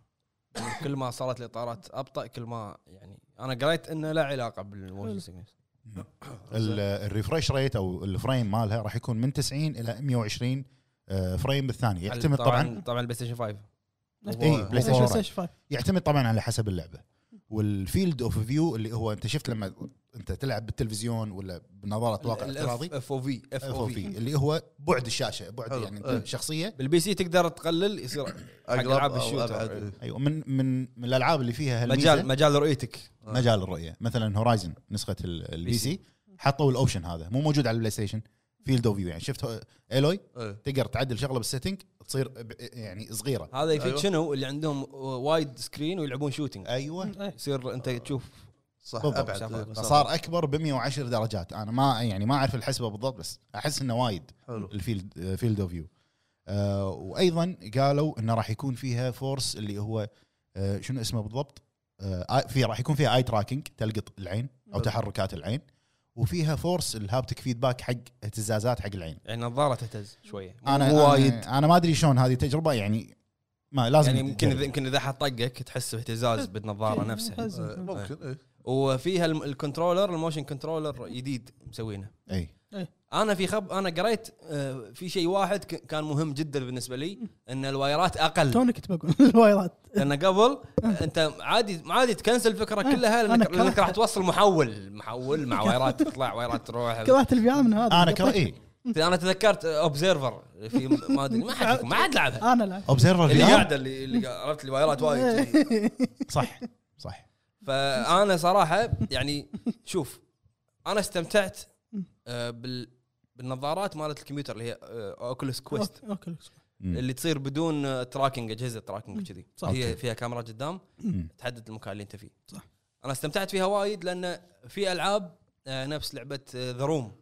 كل ما صارت الاطارات ابطا كل ما يعني انا قريت انه لا علاقه بالموشن حلو. سيكنس ال- الريفرش ريت او الفريم مالها راح يكون من 90 الى 120 آه، فريم بالثانيه يعتمد طبعا طبعا البلاي ستيشن 5 إيه، بلاي ستيشن بلاي ستيشن 5 يعتمد طبعا على حسب اللعبه والفيلد اوف فيو اللي هو انت شفت لما انت تلعب بالتلفزيون ولا بنظاره واقع افتراضي اف او في اف اف او او في اللي هو بعد الشاشه بعد حلو. يعني إيه. انت شخصيه بالبي سي تقدر تقلل يصير حق ألعاب أو الشوتر. أبعد. إيه، ايوه من من من الالعاب اللي فيها هالميزة مجال مجال رؤيتك مجال الرؤيه مثلا هورايزن نسخه ال- البي سي. سي حطوا الاوبشن هذا مو موجود على البلاي ستيشن فيلد اوف فيو يعني شفت هو- الوي إيه. تقدر تعدل شغله بالسيتنج تصير ب- يعني صغيره هذا يفيد أيوة. شنو اللي عندهم وايد سكرين ويلعبون شوتنج ايوه يصير انت تشوف صح بالضبط. ابعد شافها. إيه. فصار اكبر ب 110 درجات انا ما يعني ما اعرف الحسبه بالضبط بس احس انه وايد حلو الفيلد فيلد اوف فيو وايضا آه، قالوا انه راح يكون فيها فورس اللي هو آه، شنو اسمه بالضبط آه، آي- في راح يكون فيها اي تراكنج تلقط العين او حلو. تحركات العين وفيها فورس الهابتك فيدباك حق اهتزازات حق العين يعني نظاره تهتز شويه انا مو وايد انا, أنا ما ادري شلون هذه تجربه يعني ما لازم يعني يمكن تجرب. اذا يمكن اذا حط طقك تحس باهتزاز بالنظاره نفسها إيه، ممكن ايه وفيها الم- الكنترولر الموشن كنترولر جديد مسوينه اي إيه. انا في خب انا قريت آه، في شيء واحد ك- كان مهم جدا بالنسبه لي ان الوايرات اقل توني كنت بقول الوايرات لان قبل انت عادي عادي تكنسل الفكره إيه، كلها أنا لانك, لأنك كرهت. راح توصل محول محول مع وايرات تطلع وايرات تروح كرهت الفيار من هذا انا كرا اي انا تذكرت اوبزيرفر في م- ما ادري ما حد يفهم، ما حد لعبها انا آه، لا إيه. اوبزرفر اللي قاعده اللي اللي عرفت الوايرات وايد كذي. صح صح فانا صراحه يعني شوف انا استمتعت آه، بال بالنظارات مالت الكمبيوتر اللي هي آه، اوكولس كويست اوكي مم. اللي تصير بدون آه، تراكنج اجهزه تراكنج كذي صح. هي فيها كاميرا قدام مم. تحدد المكان اللي انت فيه صح. انا استمتعت فيها وايد لان في العاب آه، نفس لعبه ذا روم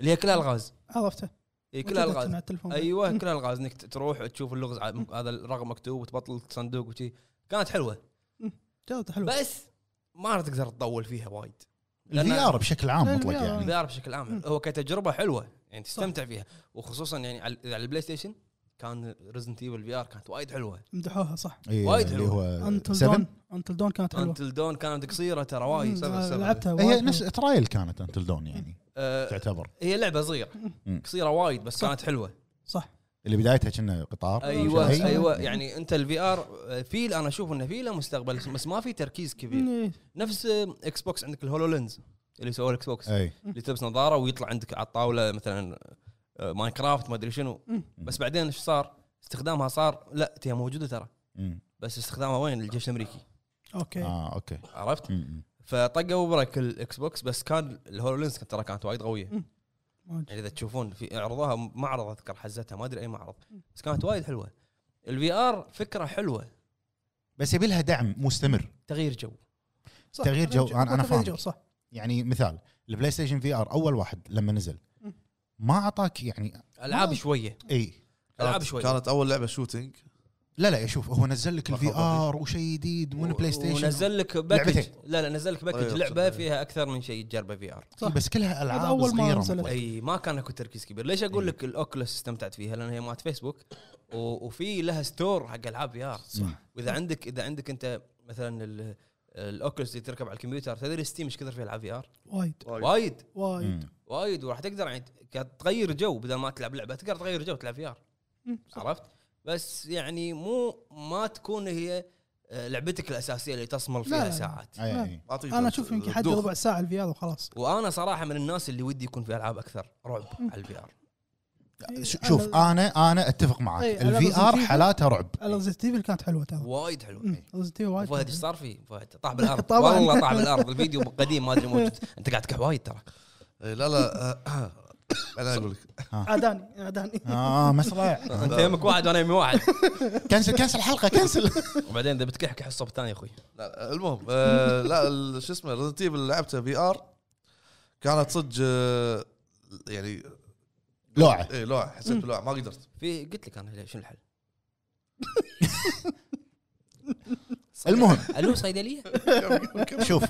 اللي هي كلها الغاز عرفته هي كلها وجدت الغاز مع التلفون أيوه. ايوه كلها الغاز انك تروح تشوف اللغز ع- هذا الرقم مكتوب وتبطل صندوق وشي كانت حلوه جودته حلوه بس ما راح تقدر تطول فيها وايد لأن- الفي ار بشكل عام لا، مطلق ال VR يعني البي بشكل عام مم. هو كتجربه حلوه يعني تستمتع فيها وخصوصا يعني على على البلاي ستيشن كان ريزنت ايفل في ار كانت وايد حلوه مدحوها صح إيه، وايد اللي هو انتل 7 دون انتل دون كانت حلوه انتل دون كانت قصيره ترى مم، آه، وايد سبعة، سبعة. لعبتها إيه، هي وايد إيه. نفس ترايل كانت انتل دون يعني آه، تعتبر هي لعبه صغيره مم. قصيره وايد بس صح. كانت حلوه صح اللي بدايتها كنا قطار ايوه شيء. أيوة. ايوه يعني انت الفي ار في انا اشوف انه في له مستقبل بس ما في تركيز كبير إيه. نفس آه، اكس بوكس عندك الهولو لينز اللي سووه الاكس بوكس آه. اي إيه. اللي تلبس نظاره ويطلع عندك على الطاوله مثلا آه، ماينكرافت ما ادري شنو مم. بس بعدين ايش صار؟ استخدامها صار لا هي موجوده ترى مم. بس استخدامها وين الجيش الامريكي اوكي اه اوكي عرفت؟ مم. فطقوا بريك الاكس بوكس بس كان الهولولينز ترى كانت وايد قويه موجود. يعني اذا تشوفون في عرضوها معرض اذكر حزتها ما ادري اي معرض بس كانت وايد حلوه الفي ار فكره حلوه بس يبي لها دعم مستمر تغيير جو صح. تغيير جو، أنا- أنا تغيير فاهم. جو، صح يعني مثال البلاي ستيشن في ار اول واحد لما نزل مم. ما اعطاك يعني العاب ما- شويه اي العاب كانت- شويه كانت اول لعبه شوتينج لا لا شوف هو نزل لك الفي مرحبا ار وشيء جديد من بلاي ستيشن ونزل لك باكج لعبتين. لا لا نزل لك باكج أيوة، لعبه صدق. فيها اكثر من شيء تجربه في ار إي، إيه، بس كلها العاب هذا أول ما صغيره نزلت. مطلق. اي ما كان اكو تركيز كبير ليش اقول لك الاوكلس استمتعت فيها لان هي مالت فيسبوك و- وفي لها ستور حق العاب في ار مم. واذا عندك اذا عندك انت مثلا ال- الاوكلس اللي تركب على الكمبيوتر تدري ستيم ايش كثر فيها العاب في ار وايد وايد وايد مم. وايد وراح تقدر يعني ت- تغير جو بدل ما تلعب لعبه تقدر تغير جو تلعب في ار مم، صح. عرفت بس يعني مو ما تكون هي آه، لعبتك الاساسيه اللي تصمل لا، فيها لا. ساعات أي، أي. أعطيك انا اشوف يمكن حد دوخ. ربع ساعه الفي ار وخلاص وانا صراحه من الناس اللي ودي يكون في العاب اكثر رعب على الفي ار ش- شوف آه. انا انا اتفق معك إي، الفي أنا ار بس- حالاتها رعب ريزنت ايفل كانت حلوه ترى وايد حلوه مم، Resident Evil وفهد وايد كانت ايش حلوة. صار فيه؟ فهد طاح بالارض طبعاً. والله طاح بالارض الفيديو قديم ما ادري موجود انت قاعد تكح وايد ترى إيه، لا لا آه، انا اقول لك عداني عداني اه مسرع انت يمك واحد وانا يمي واحد كنسل كنسل الحلقه كنسل وبعدين اذا بتكح كح الصوب الثاني يا اخوي لا المهم آه، لا ال- شو اسمه ريزنت ايفل لعبته في ار كانت صدق آه، يعني لوعه اي لوعه إيه، حسيت بلوعه ما قدرت في قلت لك انا ليه، شنو الحل؟ المهم الو صيدليه كمل، كمل. شوف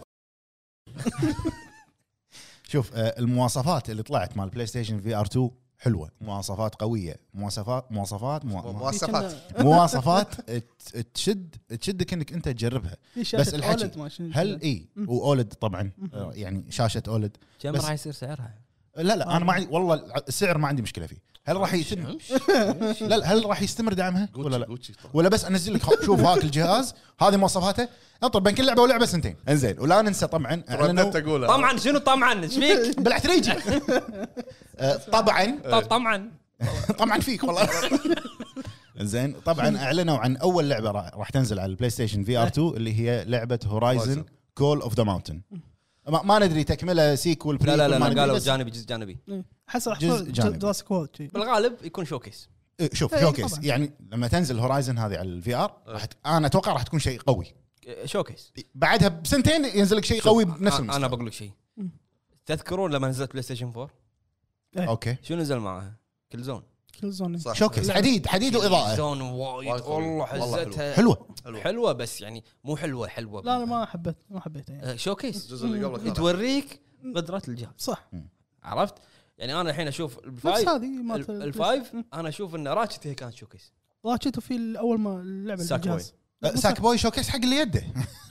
شوف آه، المواصفات اللي طلعت مال بلاي ستيشن في ار 2 حلوه مواصفات قويه مواصفات مواصفات موا- موا- مواصفات مواصفات ت- تشد تشدك انك انت تجربها بس الحكي، الحكي هل اي واولد طبعا آه، يعني شاشه اولد كم بس- راح يصير سعرها؟ لا لا انا ما عندي والله السعر ما عندي مشكله فيه هل راح يتم لا لا، هل راح يستمر دعمها ولا لا جوتشي طبعاً. ولا بس انزل لك خ- شوف هاك الجهاز هذه مواصفاته انطر بين كل لعبه ولعبه سنتين انزين ولا ننسى طبعا اعلنوا ردت اقولها طمعا شنو طمعا ايش فيك؟ بالاحتريجي آه، طبعا طمعا طبعا فيك والله زين طبعا اعلنوا عن اول لعبه راح راح تنزل على البلاي ستيشن في ار 2 اللي هي لعبه هورايزن كول اوف ذا ماونتن ما ندري تكمله سيكول لا لا بريكول، لا, ما ندري، لا قالوا بس- جانبي جزء جانبي احس راح جزء يكون جانبي. جراسيك وولد شي. بالغالب يكون شوكيس إيه، شوف إيه، شوكيس طبعاً. يعني لما تنزل هورايزن هذه على الفي ار راح ت- انا اتوقع راح تكون شيء قوي شوكيس بعدها بسنتين ينزل لك شيء قوي بنفس المستوى انا المستوى بقول لك شيء تذكرون لما نزلت بلاي ستيشن 4 اوكي شنو نزل معاها؟ كل زون كل زون صح. شوكيس حديد حديد واضاءه زون وايد وايد قوي. والله والله حزتها حلوه حلوة. حلوه بس يعني مو حلوه حلوه لا انا ما حبيت ما حبيته يعني آه، شوكيس الجزء اللي قبله كان توريك قدرات الجهاز صح عرفت؟ يعني انا الحين اشوف الفايف نفس هذه مالت ال- الفايف انا اشوف ان راتشت هي كانت شوكيس راشيتو في ال- اول ما اللعبه ساك الجهاز أه، ساك بوي شوكيس حق اللي يده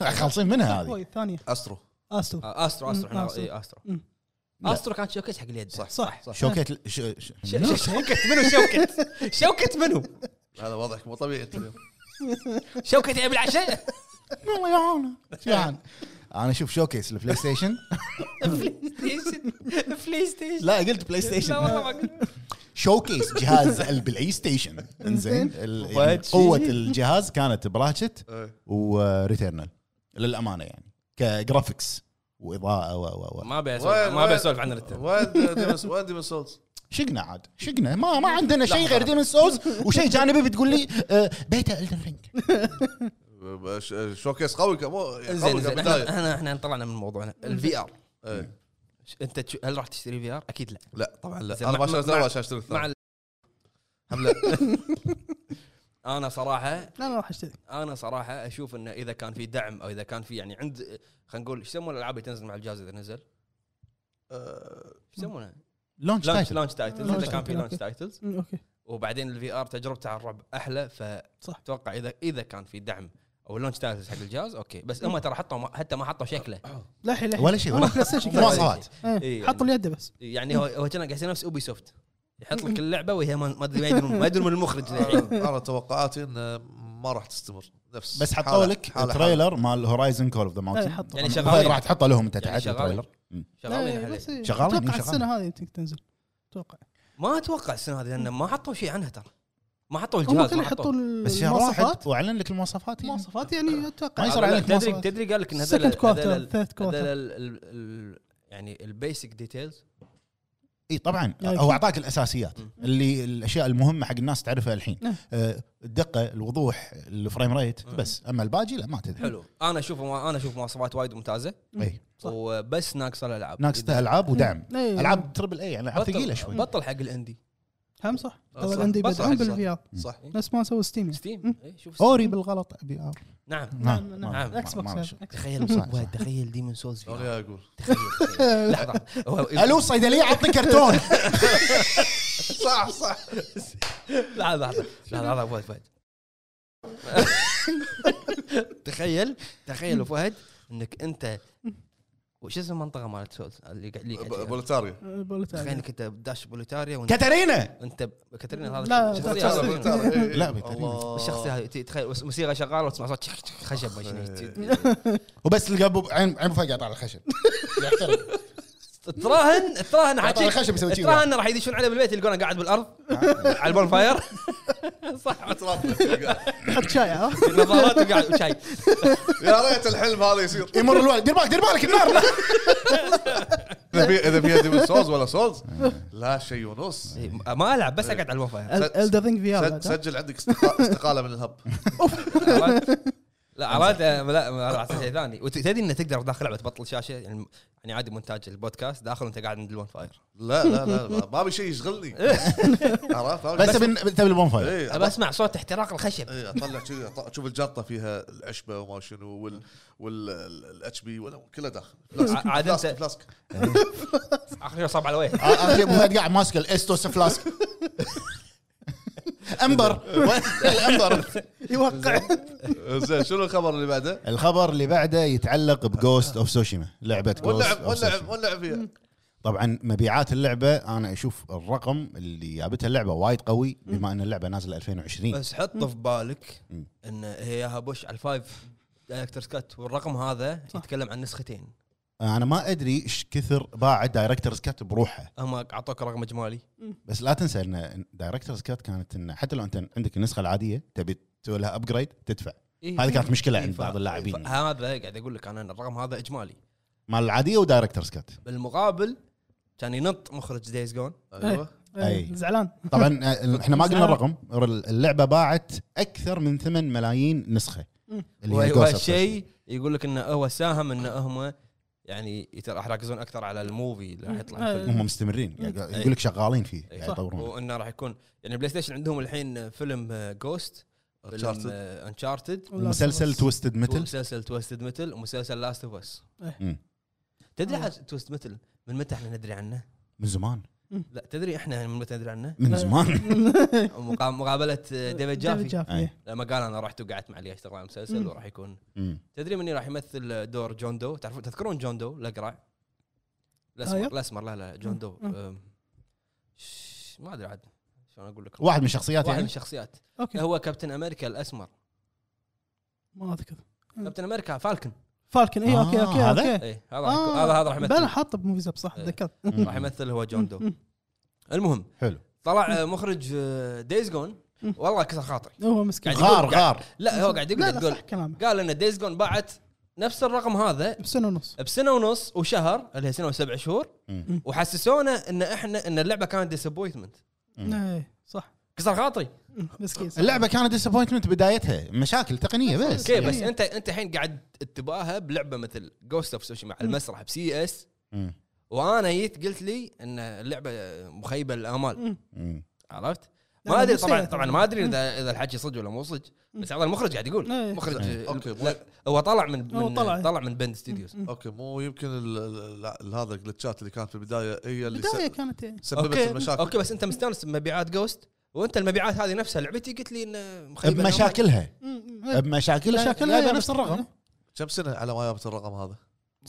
خالصين منها هذه هذه الثانيه استرو استو آه، استرو استرو مم، احنا أسترو. إيه، استرو مم. لا. استرو كانت شوكيس حق اليد صح صح. صح شوكيت ش- ش- ش- ش- شوكت منو شوكت شوكت منو هذا وضعك مو طبيعي انت اليوم شوكت يبي العشاء والله يعون جعان انا اشوف يعني؟ شوكيس البلاي ستيشن بلاي ستيشن بلاي ستيشن لا قلت بلاي لا والله ما قلت. شوكيس جهاز البلاي ستيشن انزين ال- يعني What? قوه الجهاز كانت براتشت إيه. وريتيرنال للامانه يعني كجرافكس واضاءه و و و ما ابي وين- أسولف- ما ابي اسولف عن الريتيرن وين ديمون- وين ديمون سولز؟ شقنا عاد شقنا ما ما عندنا شيء غير ديمن سولز وشيء جانبي بتقول لي آه، بيتا الدن رينج ش- شوكيس قوي كان مو يعني زين قوي زين كبدايه احنا احنا طلعنا من موضوعنا الفي ار إيه. انت تش- هل راح تشتري في ار؟ اكيد لا لا طبعا زين، لا انا ما مع- شريت مع- الاول عشان اشتري مع الثاني ال- هم لا انا صراحه لا انا راح اشتري انا صراحه اشوف انه اذا كان في دعم او اذا كان في يعني عند خلينا نقول ايش يسمون الالعاب اللي تنزل مع الجهاز اذا نزل؟ آه. ايش يسمونها؟ لونش لانش تايتل لانش تايتلز Launch اذا كان في title. لانش تايتلز أمم، اوكي وبعدين الفي ار تجربته على الربع احلى صح. فاتوقع اذا اذا كان في دعم او لونش تايتلز حق الجهاز اوكي بس إيه. هم ترى حطوا ما- حتى ما حطوا شكله للحين للحين ولا شيء والله ولا بلاي ستيشن كذا. مواصفات إيه، إيه، حطوا اليد بس يعني هو هو كان قاعد يصير نفس اوبي سوفت يحط لك اللعبه وهي ما ما ادري ما يدرون ما يدرون من المخرج آه. يعني للحين أنا- انا توقعاتي انه ما راح تستمر نفس بس حطوا حالة- لك حالة- تريلر مال هورايزن كول اوف ذا إيه، ماونتن حطوا يعني هاي راح شغالين تحطه لهم انت يعني تحت شغالين التريلر شغالين لا، عليه بس إيه، شغالين، إيه، اتوقع شغالين. السنه هذه يمكن تنزل اتوقع ما اتوقع السنه هذه لان ما حطوا شيء عنها ترى ما حطوا هم الجهاز كانوا ما يحطوا حطوا بس شهر واحد المواصفات واعلن لك المواصفات يعني. مواصفات يعني اتوقع ما يصير لا، عليك تدري مواصفات. تدري قال لك ان هذا سكند ال- هذا كوارتر ال- ثيرد هذا كوارتر ال- ال- ال- يعني البيسك ديتيلز اي طبعا يعني إيه، هو في- اعطاك الاساسيات مم. إيه. اللي الاشياء المهمه حق الناس تعرفها الحين نعم. آه، الدقه الوضوح الفريم ريت مم. بس اما الباقي لا ما تدري حلو انا اشوف انا اشوف مواصفات وايد ممتازه اي صح. وبس ناقصه الالعاب ناقصته العاب ودعم إيه، العاب تربل اي يعني العاب بطل- ثقيله شوي بطل حق الاندي هم صح آه، صح. اول عندي بطل يبدعون حق بالفي ار صح نفس ما سووا ستيم يعني. ستيم مم. إيه، شوف ستيم. اوري بالغلط بي آه. ار نعم نعم، ما- نعم. ما- ما- اكس بوكس ما- يعني. إكس تخيل صح، صح. تخيل ديمون سولز في أنا آر. يا اقول تخيل تخيل. لحظه هو- الو صيدليه عطني كرتون صح صح لحظه لحظه لحظه لحظه فهد فهد تخيل تخيل يا فهد انك انت وش اسم المنطقه مالت سولز اللي قاعد اللي ب- قاعد- بولتاريا آه، بقول لك تخيل يعني. انك انت بداش بوليتاريا وانت كاترينا انت ب- كاترينا هذا لا، الشخصيه بولتاريا، هذا- بولتاريا، إيه، إيه. لا، بولتاريا. الله. الشخصيه هذه تي- تخيل وس- موسيقى شغاله وتسمع صوت شخ- شخ- خشب ما شنو. وبس تلقى أبو- عين عين فقع طالع الخشب يحترم. تراهن تراهن طالع حاجي الخشب يسوي آه. كذي. تراهن راح يدشون عليه بالبيت يلقونه قاعد بالارض على البون فاير صح حط شاي آه. عرفت؟ نظارات وقاعد وشاي يا ريت الحلم هذا يصير يمر الوالد دير بالك دير بالك النار اذا في- اذا فيها ديمون سولز ولا سولز لا شيء ونص إيه، ما العب بس اقعد على البون فاير سج- الدر رينج في سج- ار سجل عندك استقا- استقاله من الهب لا عرفت آه، لا لا، عرفت شيء ثاني وتدري انه تقدر داخل لعبه تبطل شاشه يعني يعني عادي مونتاج البودكاست داخل وانت قاعد عند الون فاير لا لا لا ما- ما ابي شيء يشغلني عرفت ما أبي بس شيء. تبي تبي البون فاير إيه، ابى اسمع صوت احتراق الخشب اي اطلع كذي أط- اشوف الجنطه فيها العشبه وما شنو وال والاتش بي ولا كله داخل فلاسك عاد فلاسك, أنت- فلاسك. اخر شيء صعب على وجهي اخر شيء آه، فهد قاعد ماسك الاستوس فلاسك امبر الامبر يوقع إيه. زين شنو الخبر اللي بعده؟ الخبر اللي بعده يتعلق بجوست اوف سوشيما لعبه جوست واللعب اوف واللعب سوشيما واللعب فيها طبعا مبيعات اللعبه انا اشوف الرقم اللي جابتها اللعبه وايد قوي بما ان اللعبه نازله 2020 بس حط في بالك مم. ان هي ياها بوش على الفايف دايركترز كات والرقم هذا صح. يتكلم عن نسختين انا آه، ما ادري ايش كثر باع الدايركترز كات بروحه هم اعطوك رقم اجمالي بس لا تنسى ان دايركترز كات كانت إن حتى لو انت عندك النسخه العاديه تبي تسوي لها ابجريد تدفع هذه كانت مشكله عند بعض اللاعبين يعني. هذا قاعد اقول لك انا إن الرقم هذا اجمالي مال العاديه ودايركترز كات بالمقابل كان ينط مخرج دايز جون أيوة. ايوه أي. أه، زعلان طبعا آه، احنا ما قلنا الرقم اللعبه باعت اكثر من 8 ملايين نسخه مم. هي Ghost of Tsushima. وهالشيء يقول لك انه هو ساهم انه هم يعني يت- راح يركزون اكثر على الموفي اللي راح يطلع آه. الفيلم. هم مستمرين يعني أي. يقول لك شغالين فيه أي. قاعد يطورون وانه راح يكون يعني بلاي ستيشن عندهم الحين فيلم جوست فيلم Uncharted. انشارتد مسلسل توستد متل مسلسل توستد متل ومسلسل لاست اوف اس مم. تدري آه. حاجة توست متل من متى احنا ندري عنه؟ من زمان لا تدري احنا من متى ندري عنه؟ من زمان مقا- مقابله آه، ديفيد جافي أي. لما قال انا رحت وقعدت مع اللي اشتغل على المسلسل مم. وراح يكون مم. تدري مني راح يمثل دور جون دو تعرفون تذكرون جون دو الاقرع الاسمر أيوه. الاسمر لا لا جون دو مم. أم، ش- ما ادري عاد شلون اقول لك واحد من الشخصيات واحد من يعني الشخصيات اوكي هو كابتن امريكا الاسمر ما إيه، اذكر كابتن امريكا فالكن فالكن اي اوكي آه، اوكي هذا؟ اوكي اي هذا راح يكون- هذا هذا راح بلا يمثل حاطه بموفيز اب صح إيه. تذكرت مم. راح يمثل هو جون دو المهم حلو طلع مم. آه، مخرج دايز جون مم. والله كسر خاطري هو مسكين قاعد غار غار لا هو قاعد لا يقول لا تقول صح كلامه قال ان دايز جون باعت نفس الرقم هذا بسنه ونص بسنه ونص وشهر اللي هي سنه وسبع شهور مم. وحسسونا ان احنا ان اللعبه كانت ديسابوينتمنت مم. إيه، صح كسر خاطري مم، مسكين صح. اللعبه كانت ديسابوينتمنت بدايتها مشاكل تقنيه بس اوكي بس يعني- انت انت الحين قاعد تباها بلعبه مثل جوست اوف سوشيما على مم. المسرح بسي اس مم. وانا جيت قلت لي ان اللعبه مخيبه الامال مم. مم. عرفت؟ لا، ما ادري مو طبعا سيئة طبعا ما ادري اذا اذا الحكي صدق ولا مو صدق بس هذا المخرج قاعد يقول إيه. مخرج إيه. أوكي. لا، هو طلع من طيب. هو من طلع. طلع من بند ستوديوز مم. اوكي مو يمكن ال- ال- ال- هذا الجلتشات اللي كانت في البدايه هي اللي البدايه س- كانت إيه. سببت اوكي المشاكل اوكي بس انت مستانس بمبيعات جوست وانت المبيعات هذه نفسها لعبتي قلت لي انه مخيبه بمشاكلها مم، إيه. بمشاكلها مشاكلها جايبه بس- إيه. نفس الرقم كم سنه على ما جابت الرقم هذا؟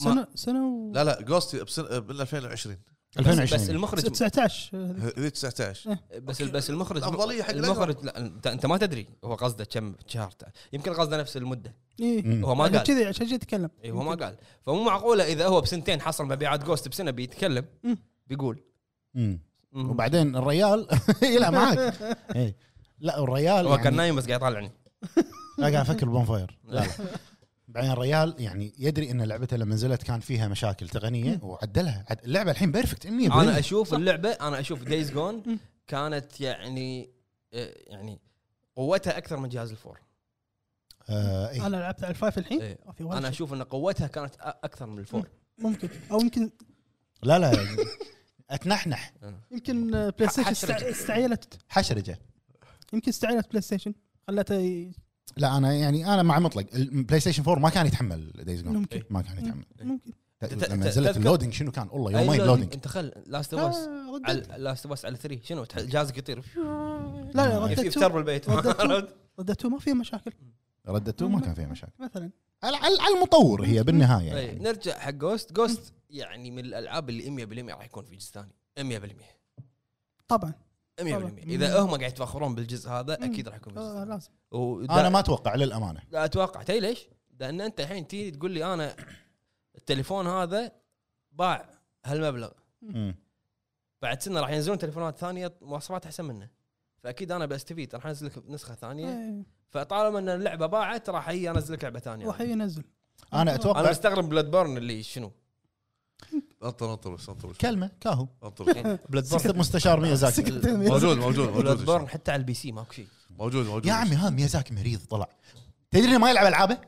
ما- سنه سنه و لا لا جوست من 2020 بس, بس 2020 المخرج 19 هذيك. هذي 19 بس أوكي. بس المخرج الأفضلية حق المخرج لا انت, انت ما تدري هو قصده كم شهر يمكن قصده نفس المده إيه. مم. هو ما عشان قال كذي عشان كذي اتكلم اي هو ما قال فمو معقوله اذا هو بسنتين حصل مبيعات جوست بسنه بيتكلم مم. بيقول مم. مم. وبعدين الريال يلعب معاك إي. لا الريال هو كان يعني- نايم بس قاعد يطالعني لا قاعد افكر بونفاير لا لا بعدين الريال يعني يدري ان لعبته لما نزلت كان فيها مشاكل تقنيه وعدلها عد- اللعبه الحين بيرفكت 100% انا اشوف اللعبه انا اشوف دايز جون كانت يعني آه، يعني قوتها اكثر من جهاز الفور آه إيه. انا لعبت على الفايف الحين إيه. ما في ولا انا شيء. اشوف ان قوتها كانت أ- اكثر من الفور ممكن او يمكن لا لا يعني اتنحنح يمكن آه، بلاي ستيشن حشرة. است- استعيلت حشرجه يمكن استعيلت بلاي ستيشن خلته ي- لا انا يعني انا مع مطلق البلاي ستيشن 4 ما كان يتحمل دايز نعم. جون ممكن ما كان يتحمل إيه. ممكن ت- ت- لما نزلت تذكر- اللودنج شنو كان والله يومين أي لودنج انت خل لاست اوف اس آه، طيب، على ردت لاست اوف اس على 3 شنو تح- جهازك يطير لا لا يف- إيه، في ردت ترب البيت ردت ردته ما فيها مشاكل ردته ما كان فيها مشاكل مثلا على, على على المطور هي بالنهايه أي، يعني. طيب، نرجع حق جوست جوست يعني من الالعاب اللي 100% راح يكون في جزء ثاني 100% 100% طبعا اذا هم قاعد يتفاخرون بالجزء هذا مم. اكيد راح يكون في جزء آه، ثاني. لازم ودا- انا ما اتوقع للامانه لا اتوقع تدري ليش؟ لان انت الحين تيجي تقول لي انا التليفون هذا باع هالمبلغ مم. بعد سنه راح ينزلون تليفونات ثانيه مواصفات احسن منه فاكيد انا بستفيد راح انزل لك نسخه ثانيه إيه، فطالما ان اللعبه باعت راح اجي انزل لك لعبه ثانيه راح ينزل انا انا اتوقع مستغرب بلاد بورن اللي شنو؟ انطر انطر بس انطر بس كلمه كاهو انطر بلاد سكت مستشار ميازاكي موجود موجود بلاد بورن موجود حتى على البي سي ماكو شيء موجود موجود يا عمي هذا ميازاكي مريض طلع تدري إنه ما يلعب العابه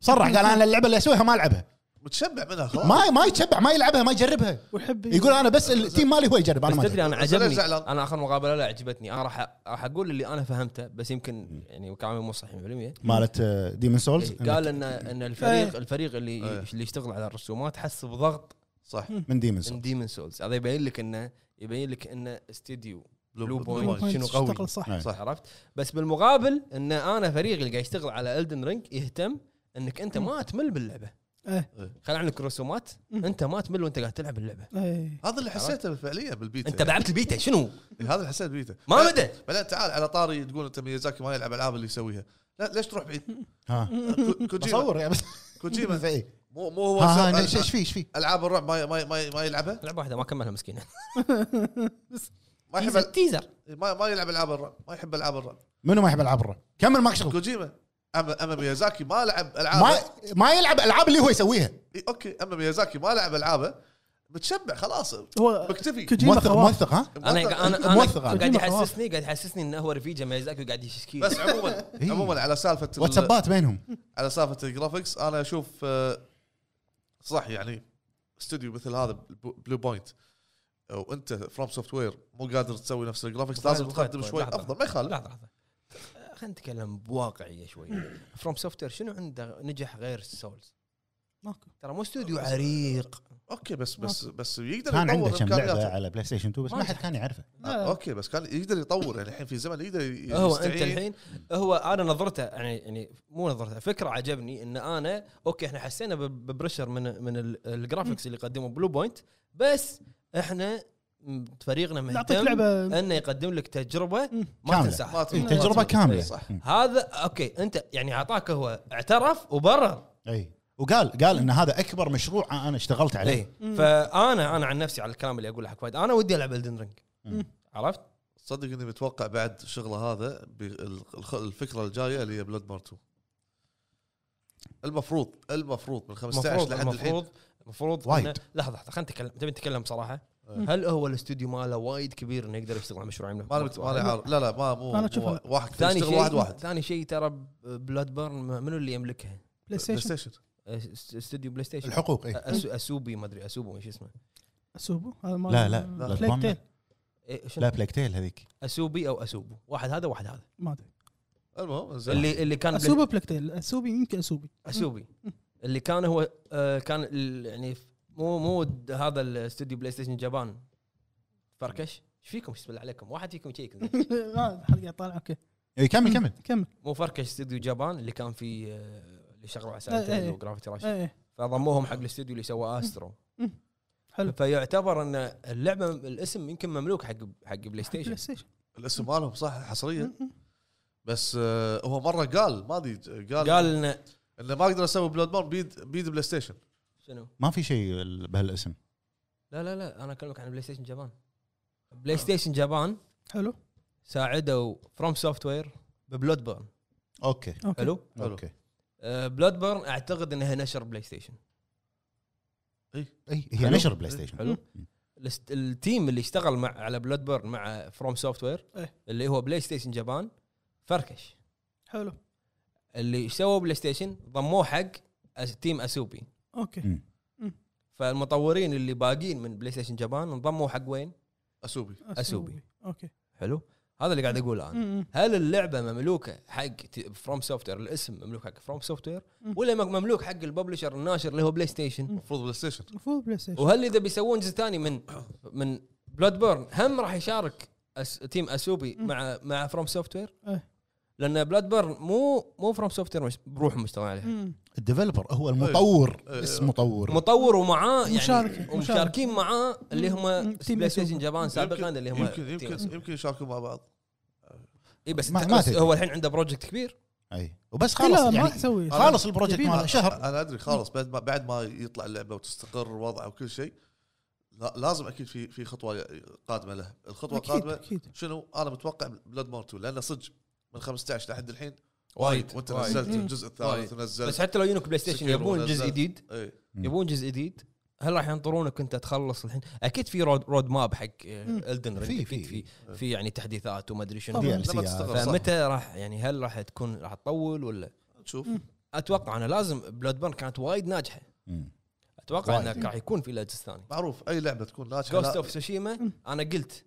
صرح قال انا اللعبه اللي اسويها ما العبها متشبع منها خلاص ما ما يتشبع ما يلعبها ما يجربها ويحب يقول انا بس التيم مالي هو يجرب انا بس ما أدري. تدري انا بس أنا عجبني زعلان. انا اخر مقابله لا عجبتني انا راح راح اقول اللي انا فهمته بس يمكن يعني كلامي مو صحيح 100% مالت آه، ديمون سولز إيه، قال ان ان الفريق إيه. الفريق اللي إيه. اللي يشتغل على الرسومات حس بضغط صح من ديمون سولز من ديمن سولز هذا يبين لك انه يبين لك انه استديو بلو بوينت. بوينت. شنو قوي. اشتغل صح إيه. صح عرفت بس بالمقابل ان انا فريق اللي قاعد يشتغل على الدن رينج يهتم انك انت ما تمل باللعبه إيه. خلي عنك رسومات مم. انت ما تمل وانت قاعد تلعب اللعبه إيه. هذا اللي حسيته فعليا بالبيتا انت لعبت البيتا شنو يعني. هذا اللي حسيت بالبيتا ما مدى بعدين تعال على طاري تقول انت ميازاكي ما يلعب العاب اللي يسويها لا ليش تروح بعيد؟ ها كو- كوجيما بصور يا بس كوجيما بس إيه. مو مو هو ها ها سوى ايش ايش في ايش في العاب الرعب ما ما ما, ما يلعبها لعبه واحده ما كملها مسكينه ما يحب تيزر- ال- تيزر ما, ما يلعب العاب الرعب ما يحب العاب الرعب منو ما يحب العاب الرعب كمل ماك شغل كوجيما اما اما ميازاكي ما لعب العاب ما ما يلعب العاب اللي هو يسويها إي، اوكي اما ميازاكي ما لعب العابه متشبع خلاص هو مكتفي كوجيما موثق خواف موثق ها انا انا انا موثق. قاعد كوجيما خلاص. يحسسني قاعد يحسسني انه هو رفيجه ميازاكي وقاعد يشكي بس عموما إي. عموما على سالفه ال- واتسابات بينهم على سالفه الجرافكس انا اشوف آه، صح يعني استوديو مثل هذا بلو- بلو بوينت وانت فروم سوفت وير مو قادر تسوي نفس الجرافكس لازم بوينت، تقدم بوينت، شوي لحظة. افضل ما يخالف لحظه لحظه آه، خلينا نتكلم بواقعيه شوي فروم سوفت شنو عنده نجح غير سولز ماكو ترى مو استوديو عريق اوكي بس بس بس يقدر كان عنده يطور كم لعبه امكانياته على بلاي ستيشن 2 بس ما ما حد كان يعرفه آه، اوكي بس كان يقدر يطور يعني الحين في زمن يقدر ي- هو انت يستعين. الحين هو انا نظرته يعني يعني مو نظرته فكره عجبني ان انا اوكي احنا حسينا ب- ببرشر من من ال- الجرافيكس اللي قدمه بلو بوينت بس احنا م- فريقنا نعطيك مهتم لعبه انه يقدم لك تجربه مم. ما كاملة. ما تنساها تنسى. إيه، ما تجربه تنسى. كامله صح مم. هذا اوكي انت يعني اعطاك هو اعترف وبرر اي وقال قال ان هذا اكبر مشروع انا اشتغلت عليه عليه فانا انا إيه. عن نفسي على الكلام اللي اقوله حق فهد انا ودي العب الدن رينج مم. عرفت؟ تصدق اني متوقع بعد شغله هذا بالخ- الفكره الجايه اللي هي بلاد مار 2 المفروض المفروض من 15 المفروض لحد الحين المفروض المفروض وايد. إنه- لحظه لحظه خلينا نتكلم تبي نتكلم بصراحه إيه. هل هو الاستوديو ماله وايد كبير انه يقدر يشتغل على مشروع عمله ما نبت- ما له عار- لا لا ما مو, أنا مو أشوفها. واحد ثاني ثاني شيء واحد واحد ثاني شيء ترى ب- بلاد بيرن ما- منو اللي يملكها؟ بلاي بلاي ستيشن ستيشن أس- استوديو بلاي ستيشن الحقوق اي أس- اسوبي ما ادري اسوبو ايش اسمه اسوبو هذا مال لا، لا، لا، بلاك ضمن. تيل إيه، شنو؟ لا بلاك تيل هذيك اسوبي او اسوبو واحد هذا واحد هذا ما ادري المهم زين اللي اللي كان بلاي- اسوبو بلاك تيل اسوبي يمكن اسوبي اسوبي اللي كان هو آه، كان ال- يعني ف- مو مو د- هذا الاستوديو بلاي ستيشن جابان فركش ايش فيكم بسم الله عليكم واحد فيكم يشيك ما حد قاعد طالع اوكي اي كمل كمل كمل مو فركش استوديو جابان اللي كان في آه، اللي شغلوا على إيه، إيه. سايتين وجرافيتي رش ايه إيه. فضموهم حق الاستوديو اللي سوى استرو حلو فيعتبر ان اللعبه الاسم يمكن مملوك حق حق بلاي ستيشن بلاي ستيشن الاسم مالهم صح حصريا مم. بس آه، هو مره قال ما ادري قال, قال إن انه ما اقدر اسوي بلود بورن بيد بيد بلاي ستيشن شنو ما في شيء ال- بهالاسم لا لا لا انا اكلمك عن بلاي ستيشن جابان آه. بلاي ستيشن جابان حلو ساعدوا فروم سوفت وير ببلود بيرن اوكي اوكي حلو حلو. اوكي بلاد بيرن اعتقد انها نشر بلاي ستيشن اي هي حلو. نشر بلاي ستيشن حلو الست- التيم اللي اشتغل مع على بلاد بيرن مع فروم سوفت وير إيه. اللي هو بلاي ستيشن جابان فركش حلو اللي سووا بلاي ستيشن ضموه حق أس- تيم اسوبي اوكي مم. فالمطورين اللي باقين من بلاي ستيشن جابان انضموا حق وين؟ اسوبي أسوبي. اوكي حلو؟ هذا اللي قاعد اقوله انا مم. هل اللعبه مملوكه حق فروم سوفت وير الاسم مملوك حق فروم سوفت وير مم. ولا مم- مملوك حق الببلشر الناشر اللي هو بلاي ستيشن مم. المفروض بلاي ستيشن المفروض بلاي ستيشن وهل اذا بيسوون جزء ثاني من من بلاد بورن هم راح يشارك أس تيم اسوبي مم. مع مع فروم سوفت وير إيه. لان بلاد بورن مو مو فروم سوفت وير بروحهم مشتغل عليها مم. الديفلوبر هو المطور إيه. بس مطور مطور ومعاه يعني مشاركة- ومشاركين معاه اللي هم مم. تيم بلاي ستيشن أسوبي. جابان سابقا يمكن- اللي هم يمكن يمكن يمكن يشاركوا مع بعض اي بس ما- انت- ما بس تدري. هو الحين عنده بروجكت كبير اي وبس لا خلاص ما يعني تسوي خالص البروجكت يبيها. ماله شهر انا ادري خالص بعد ما بعد ما يطلع اللعبه وتستقر وضعها وكل شيء لا لازم اكيد في في خطوه قادمه له الخطوه اكيد القادمه اكيد شنو انا متوقع بلاد بورن 2 لانه صدق من 15 لحد الحين وايد وانت وايد. نزلت مم. الجزء وايد. الثالث ونزلت إيه. بس حتى لو يونك بلاي ستيشن سكيرو يبون جزء نزلت. جديد اي مم. يبون جزء جديد هل راح ينطرونك انت تخلص الحين اكيد في رود, رود ماب حق الدن في- رينج اكيد في. في في يعني تحديثات وما ادري شنو طبعاً. لما DLC تستغرب صح فمتى راح يعني هل راح تكون راح تطول ولا نشوف مم. اتوقع انا لازم بلاد بيرن كانت وايد ناجحه مم. اتوقع وايد. انه راح يكون في له جزء ثاني معروف اي لعبه تكون ناجحه جوست لا- اوف سوشيما انا قلت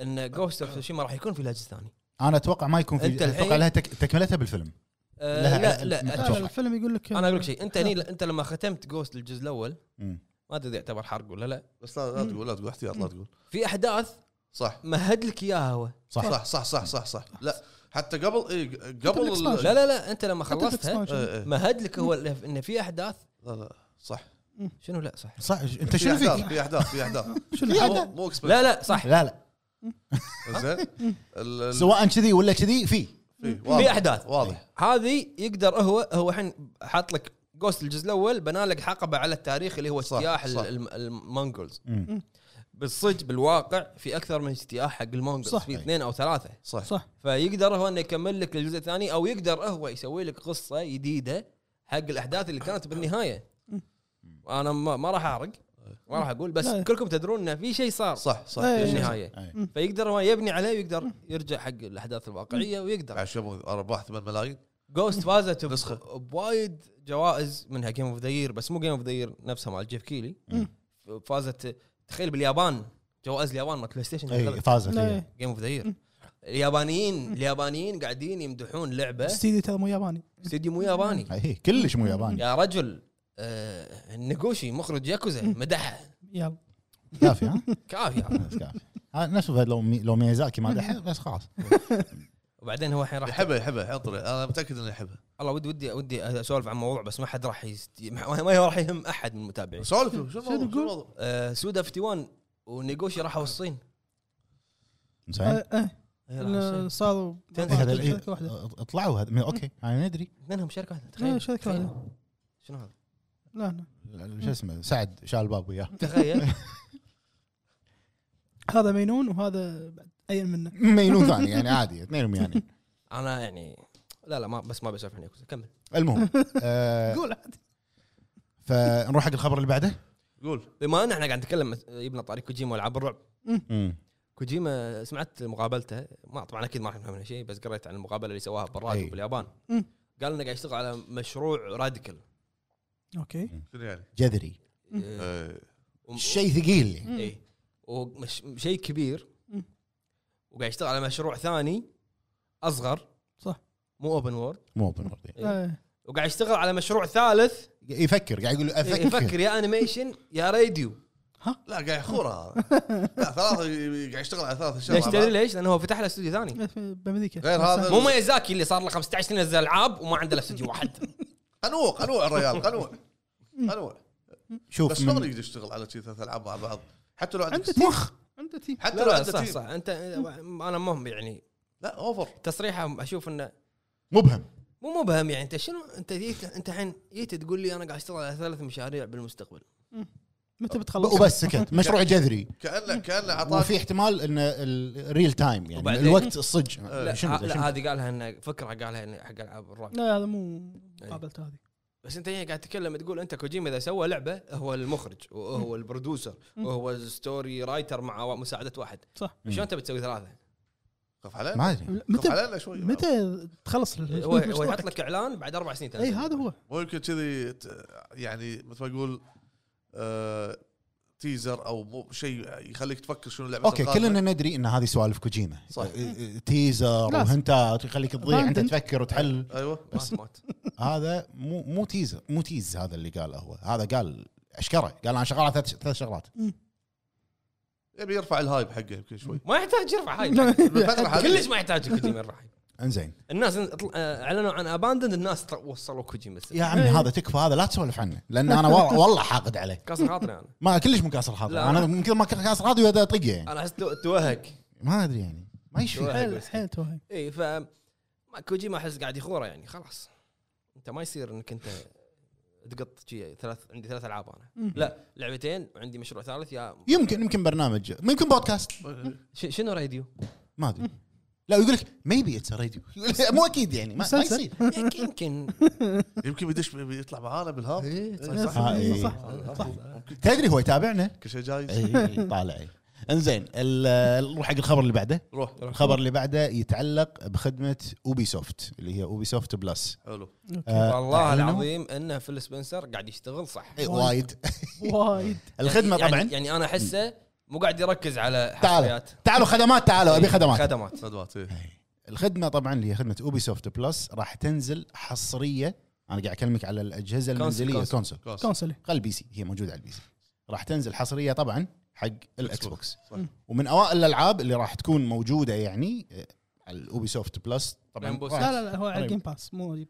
ان جوست آه. اوف سوشيما راح يكون في له جزء ثاني انا اتوقع ما يكون أنت في الحين- اتوقع لها تك... تكملتها بالفيلم أه لها لا عزم لا متوقع. لا، لا، اتوقع الفيلم يقول لك انا اقول لك شيء انت هني انت لما ختمت جوست الجزء الاول مم. ما ادري إذا يعتبر حرق ولا لا بس لا, لا تقول لا تقول احتياط لا تقول في احداث صح مهد لك اياها هو صح صح صح, صح صح صح صح لا حتى قبل اي قبل ال- الإكسبانشن. لا لا لا انت لما حتى خلصتها الإكسبانشن. إيه، إيه. مهد لك هو ال- ان في احداث لا لا صح شنو لا صح صح. انت في شنو احداث فيك؟ في احداث في احداث شنو مو مو لا لا صح لا لا زين سواء كذي ولا كذي في في أحداث. واضح هذه يقدر هو هو الحين حاط لك جوست الجزء الاول بنى لك حقبه على التاريخ اللي هو صح، اجتياح صح. ال- الم- المونغولز مم. بالصج بالواقع في اكثر من اجتياح حق المونغولز صح. في اثنين او ثلاثه صح صح فيقدر هو انه يكمل لك الجزء الثاني او يقدر هو يسوي لك قصه جديده حق الاحداث اللي كانت بالنهايه انا ما, ما راح احرق ما راح اقول بس لا. كلكم تدرون انه في شيء صار صح صح إيه. في في شيء. النهايه أي. فيقدر هو يبني عليه ويقدر يرجع حق الاحداث الواقعيه ويقدر بعد شبو ارباح 8 ملايين جوست فازت ب- نسخة. بوايد جوائز منها جيم اوف ذا يير بس مو جيم اوف ذا يير نفسها مال جيف كيلي مم. فازت تخيل باليابان جوائز اليابان مال بلاي ستيشن اي فازت لا، هي. إيه. جيم اوف ذا يير اليابانيين اليابانيين قاعدين يمدحون لعبه استديو ترى مو ياباني استديو مو ياباني هي كلش مو ياباني يا رجل آه النقوشي مخرج ياكوزا مدحها يلا كافي ها كافي بس كافي ها، نفس فهد لو مي- لو ميازاكي ما دحى بس خلاص وبعدين هو الحين راح يحبها يحبها حضر انا متاكد انه يحبها الله ودي ودي ودي اسولف عن موضوع بس ما حد راح يست... ما ما راح يهم احد من المتابعين سولف شو الموضوع؟ شو تقول؟ الموضوع؟ آه سودا 51 ونيغوشي راحوا الصين زين إيه، إيه. إيه، راحوا إن الصين. صاروا تنزل هذا شركة العيد. طيب، واحدة. اطلعوا هذا اوكي انا ندري اثنينهم شركه واحده لا، تخيل شركة تخيل. واحدة. شنو هذا؟ لا لا شو اسمه سعد شال الباب وياه تخيل هذا مينون وهذا بعد اين منه مينون ثاني يعني عادي اثنين ميانين انا يعني لا لا ما بس ما بسولف عن ياكوزا كمل المهم آه، قول عادي فنروح حق الخبر اللي بعده قول بما ان احنا قاعد نتكلم يبنى طريق كوجيما والعاب الرعب مم. كوجيما سمعت مقابلته ما طبعا اكيد ما راح نفهم منها شيء بس قريت عن المقابله اللي سواها بالراديو أي. باليابان مم. قال انه قاعد يشتغل على مشروع راديكال اوكي شنو يعني؟ جذري آه، إيه. شيء ثقيل اي وشيء كبير مم. وقاعد يشتغل على مشروع ثاني اصغر صح. مو اوبن وورد مو اوبن وورد. إيه. وقاعد يشتغل على مشروع ثالث يفكر قاعد يقول افكر إيه، يفكر يا انيميشن يا راديو لا قاعد يخورها هذا. لا ثلاثة قاعد يشتغل على ثلاث اشياء ليش مع تدري بعض. ليش؟ لانه هو فتح له استوديو ثاني إيه، في- بامريكا غير هذا. مو ميازاكي اللي صار له 15 سنه ينزل العاب وما عنده الا استوديو واحد قنوع قنوع الرجال قنوع قنوع بس شوف شلون من يقدر يشتغل على شي ثلاث العاب مع بعض حتى لو عنده عندك تيم عنده تيم حتى لا لو لا عندك صح تيم. صح انت انا مهم يعني لا اوفر تصريحه اشوف انه مبهم مو مبهم يعني انت شنو انت جيت انت الحين جيت تقول لي انا قاعد اشتغل على ثلاث مشاريع بالمستقبل متى بتخلص وبس سكت مشروع جذري طيب. كانه كانه اعطاك وفي احتمال ان الريل تايم يعني وبعدين- آه، الوقت الصج لا, آه، شنو ها- ذا؟ شنو لا ذا؟ هذه قالها انه فكره قالها إنه حق العاب الرعب لا هذا مو مقابلته هذه بس انت هنا قاعد تتكلم تقول انت كوجيما اذا سوى لعبه هو المخرج وهو البرودوسر وهو الستوري رايتر مع مساعده واحد صح شلون انت بتسوي ثلاثه؟ خف علينا ما ادري خف متى علينا شوي متى تخلص ال- هو هو يحط مشروعك؟ لك اعلان بعد اربع سنين اي هذا هو مو يمكن كذي ت- يعني مثل ما اقول آه، تيزر او مو شيء يخليك تفكر شنو اللعبه اوكي كلنا ندري ان هذه سوالف كوجيما إيه، صح. تيزر لازم. وهنتات يخليك تضيع انت Abandoned. تفكر وتحلل ايوه مات مات هذا مو مو تيزر مو تيز هذا اللي قاله هو هذا قال اشكره قال انا شغال على ثلاث ثلاث شغلات يبي يرفع الهايب حقه يمكن شوي ما يحتاج يرفع هاي الفترة هذه- كلش ما يحتاج كوجيما يرفع هاي. انزين الناس اطل- آه، اعلنوا عن اباندند الناس تر- وصلوا كوجيما السنة. يا عمي إيه. هذا تكفى هذا لا تسولف عنه لان انا والله, والله حاقد عليه كسر خاطري انا ما كلش مو كاسر لا. حاضر انا يمكن ما كاسر حاضر وهذا طقه يعني انا احس تو- توهق ما ادري يعني ما يشفي حيل حيل توهق اي ف ما- كوجيما احس قاعد يخوره يعني خلاص انت ما يصير انك انت تقط شي ثلاث عندي ثلاث العاب انا لا لعبتين وعندي مشروع ثالث يا يمكن يمكن برنامج يمكن بودكاست ش- شنو راديو؟ ما ادري لا يقول لك ميبي اتس راديو مو اكيد يعني ما, ما مسلسل. يصير يمكن- يمكن يمكن يدش يطلع معانا بالهاب إيه، إيه، صح آه، إيه. صح صح تدري هو يتابعنا كل شيء جايز اي إيه، طالع إي. انزين ال- نروح حق الخبر اللي بعده روح الخبر اللي بعده يتعلق بخدمه اوبي سوفت اللي هي اوبي سوفت بلس حلو آه، والله أعلنوا. العظيم انه فيل سبنسر قاعد يشتغل صح إيه، وايد وايد الخدمه يعني- طبعا يعني انا احسه مو قاعد يركز على تعالوا حصريات تعالوا خدمات تعالوا ابي خدمات خدمات صدمات إيه. الخدمه طبعا اللي هي خدمه اوبي سوفت بلس راح تنزل حصريه انا قاعد اكلمك على الاجهزه كونسل- المنزليه كونسل. كونسول كلاس. كونسولي خل البي سي هي موجوده على البي سي راح تنزل حصريه طبعا حق الاكس بوكس صح. ومن اوائل الالعاب اللي راح تكون موجوده يعني آه، على الاوبي سوفت بلس طبعا Rainbow Six. لا راح- لا لا هو على الجيم باس مو اي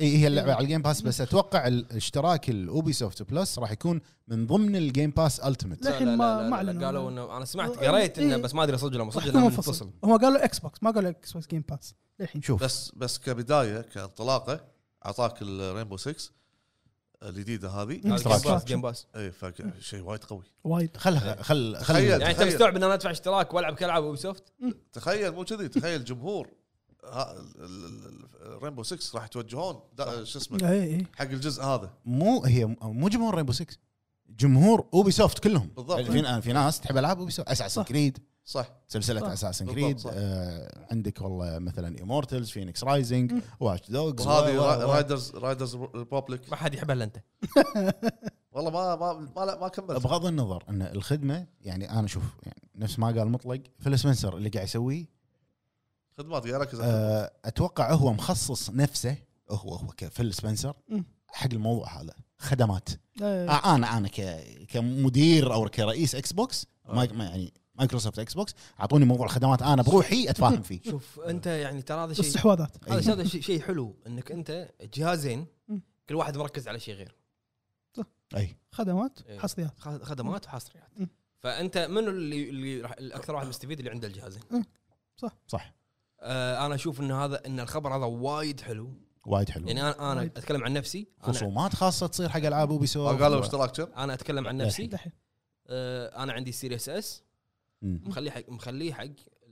إيه، هي اللعبه على الجيم باس بس اتوقع ال- اشتراك الاوبي سوفت بلس راح يكون من ضمن الجيم باس التيمت لا، للحين لا، ما- لا، لا، ما لا، أعلنوا. قالوا انه انا سمعت إيه. قريت انه بس ما ادري صدق ولا مو صدق صدق إنه منفصل هم قالوا اكس بوكس ما قالوا اكس بوكس جيم باس للحين شوف بس بس كبدايه كانطلاقه اعطاك الرينبو 6 الجديده هذه هذا اشتراك. جيم باس، جيم باس اي فشيء وايد قوي وايد خلها خل إيه. تخيل. خل يعني انت تخيل. مستوعب ان انا ادفع اشتراك والعب كالعاب اوبي سوفت تخيل مو كذي تخيل جمهور رينبو 6 راح يتوجهون دا- شو اسمه اي اي حق الجزء هذا مو هي مو جمهور رينبو 6 جمهور اوبي سوفت كلهم يعني بالضبط. في في ناس تحب العاب اوبي سوفت اساسن صح. كريد صح سلسله صح. اساسن بالضبط، كريد صح. آه عندك والله مثلا امورتلز فينيكس رايزنج واتش دوجز وهذه را- رايدرز رايدرز ريبوبليك ما حد يحبها الا انت والله ما ما ما, لا ما كملت بغض النظر ان الخدمه يعني انا شوف يعني نفس ما قال مطلق فيل سبنسر اللي قاعد يسويه خدمات يا ركز على- آه، اتوقع هو مخصص نفسه هو هو كفيل سبنسر مم. حق الموضوع هذا خدمات إي. آه، انا انا ك- كمدير او كرئيس اكس بوكس آه. مايك- ما- يعني مايكروسوفت اكس بوكس اعطوني موضوع الخدمات انا بروحي اتفاهم فيه شوف انت يعني ترى هذا شيء استحواذات إيه. هذا شيء- هذا شيء شيء حلو انك انت جهازين مم. كل واحد مركز على شيء غير اي إي. خدمات حصريات خ- خدمات وحصريات مم. فانت منو اللي اللي راح الاكثر واحد مستفيد اللي عنده الجهازين صح آه انا اشوف ان هذا ان الخبر هذا وايد حلو وايد حلو يعني انا انا وايد. اتكلم عن نفسي انا خصومات خاصه تصير حق العاب اوبي سوفت آه، قالوا اشتراك كم؟ انا اتكلم إيه. عن نفسي دحين آه انا عندي سيريس اس مخليه حق مخليه حق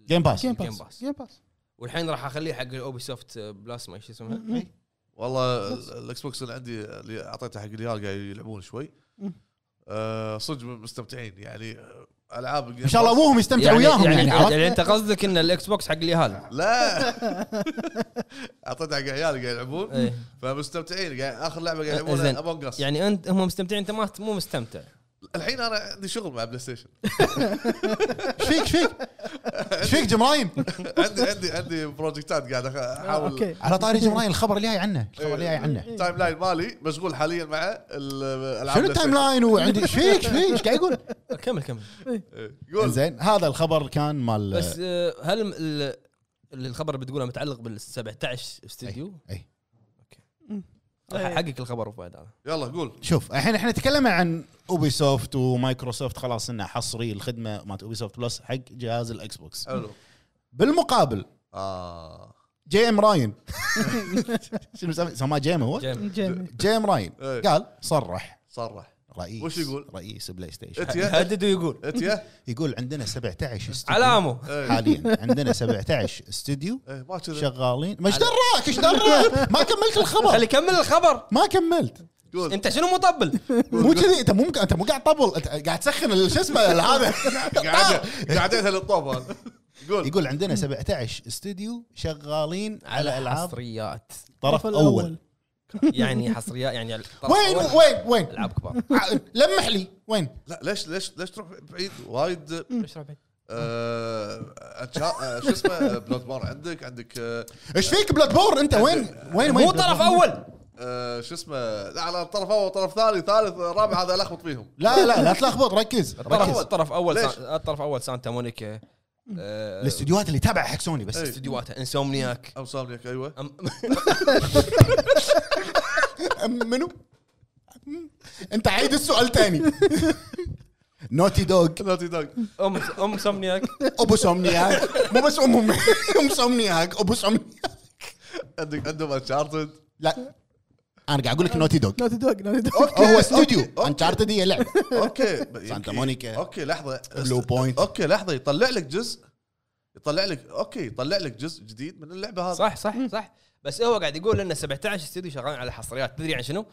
جيم باس جيم Game Pass. باس جيم باس والحين راح اخليه حق الاوبي سوفت بلاس ما شو اسمها يعني- مم. إي. والله ال- الاكس بوكس اللي عندي اللي اعطيته حق العيال قاعد يلعبون شوي مم. آه، صدق مستمتعين يعني آه، العاب ان شاء الله ابوهم يستمتع وياهم يعني, يعني, عرفت؟ يعني انت قصدك ان الاكس بوكس حق اليهال لا اعطيته حق عيال قاعد يلعبون إيه. فمستمتعين قاعد اخر لعبه قاعد زين. يلعبونها امونج اس يعني انت هم مستمتعين انت ما مو مستمتع الحين انا عندي شغل مع بلاي ستيشن ايش فيك ايش فيك؟ ايش فيك جمرايم؟ عندي عندي عندي بروجكتات قاعد أخ- احاول اوكي على طاري جمرايم الخبر اللي جاي عنه الخبر اللي جاي عنه التايم لاين مالي مشغول حاليا مع الالعاب شنو التايم لاين وعندي ايش فيك ايش فيك ايش قاعد يقول؟ كمل كمل إيه، قول زين هذا الخبر كان مال بس آه، هل م- ال- اللي الخبر بتقوله متعلق بال 17 استديو اي إيه. حقك الخبر ابو فهد هذا يلا قول شوف الحين احنا تكلمنا عن اوبي سوفت ومايكروسوفت خلاص انه حصري الخدمه مالت اوبي سوفت بلس حق جهاز الاكس بوكس حلو بالمقابل اه جي ام راين شنو سماه- سماه جيم هو؟ جيم. جيمي جي ام راين إيه. قال صرح صرح رئيس وش يقول؟ إيه. رئيس بلاي ستيشن اتيا هدد ويقول اتيا يقول عندنا 17 استوديو علامه إيه. حاليا عندنا 17 استوديو إيه، ما كذا شغالين ما ايش دراك ايش دراك ما كملت خلي الخبر كمل الخبر ما كملت قول انت شنو مطبل مو كذي انت مو انت مو قاعد طبل انت قاعد تسخن ال- شو اسمه هذا قاعد قاعدتها للطوب هذا قول يقول عندنا 17 استوديو شغالين على العاب حصريات طرف اول يعني حصريات يعني الطرف وين أول. وين وين العاب كبار ع- لمح لي وين لا ليش ليش ليش تروح بعيد وايد ليش ربعي؟ آه، أتشا- آه، شو اسمه بلاد بار عندك عندك آه، ايش فيك بلاد بور انت وين وين وين مو طرف اول آه، شو اسمه لا على طرف اول طرف ثاني ثالث رابع هذا لخبط فيهم لا لا لا تلخبط ركز الطرف ركز اول الطرف اول ليش؟ سان- الطرف اول سانتا مونيكا آه، الاستديوهات اللي تابعه حق سوني بس إيه. استديوهاتها انسومنياك امسامنيك ايوه أم- منو؟ انت عيد السؤال تاني نوتي دوغ نوتي دوغ ام ام سومنياك ابو سومنياك مو بس امهم ام سومنياك ابو سومنياك عندك عندهم انشارتد لا انا قاعد اقول لك نوتي دوغ نوتي دوغ نوتي دوغ أوكي، هو أوكي، استوديو أوكي. انشارتد هي لعبه اوكي سانتا يمكن- مونيكا. اوكي لحظه بلو بوينت. اوكي لحظه يطلع لك جزء يطلع لك اوكي يطلع لك جزء جديد من اللعبه هذه صح صح صح بس هو قاعد يقول ان 17 استوديو شغالين على حصريات تدري عن شنو؟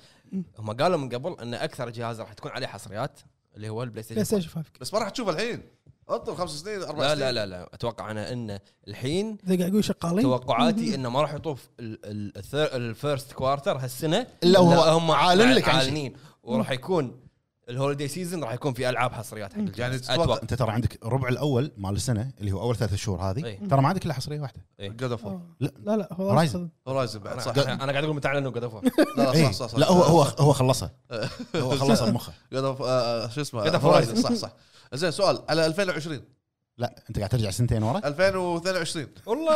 هم قالوا من قبل ان اكثر جهاز راح تكون عليه حصريات اللي هو البلاي بلاي ستيشن ستيشن 5 بس ما راح تشوف الحين اطلب خمس سنين اربع لا سنين لا لا لا اتوقع انا انه الحين اذا قاعد يقول شغالين توقعاتي انه ما راح يطوف ال- ال- الثير- الفيرست كوارتر هالسنه إلا وهو لا، هم عالن عال- لك عن شيء. عالنين وراح يكون الهوليدي سيزون راح يكون في العاب حصريات حق يعني الجهاز. تتوقع- اتوقع انت ترى عندك الربع الاول مال السنه اللي هو اول ثلاث شهور هذه إيه. ترى ما عندك الا حصريه واحده جود اوف آه. لا. لا لا هو Horizon. أصلاً. هورايزن بعد انا صح أنا- انا قاعد اقول متى اعلنوا قد اوف لا إيه. صح صح صح لا هو هو هو خلصها هو خلصها بمخه جود اوف آه، شو اسمه God of هورايزن Horizon. صح صح زين سؤال على 2020 لا انت قاعد ترجع سنتين ورا 2022 والله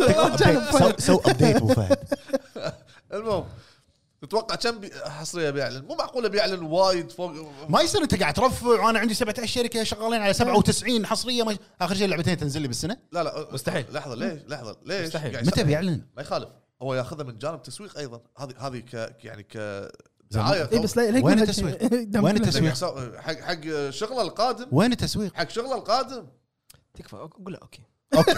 Update. سو- سو ابديت ابو فهد المهم تتوقع كم بي- حصريه بيعلن؟ مو معقوله بيعلن وايد فوق ما يصير انت قاعد ترفع وانا عندي 17 شركه شغالين على 97 حصريه ما اخر شيء لعبتين تنزل لي بالسنه لا لا مستحيل. لحظه ليش لحظه ليش مستحيل. قاعد متى يصير؟ بيعلن؟ ما يخالف هو ياخذها من جانب تسويق ايضا هذه هذه ك يعني ك زين. دعايه اي إيه، بس لا لا وين يقول هالشيء. التسويق؟ دم وين كله. التسويق؟ لك حساب- حق حق شغله القادم وين التسويق؟ حق شغله القادم تكفى اقول له اوكي اوكي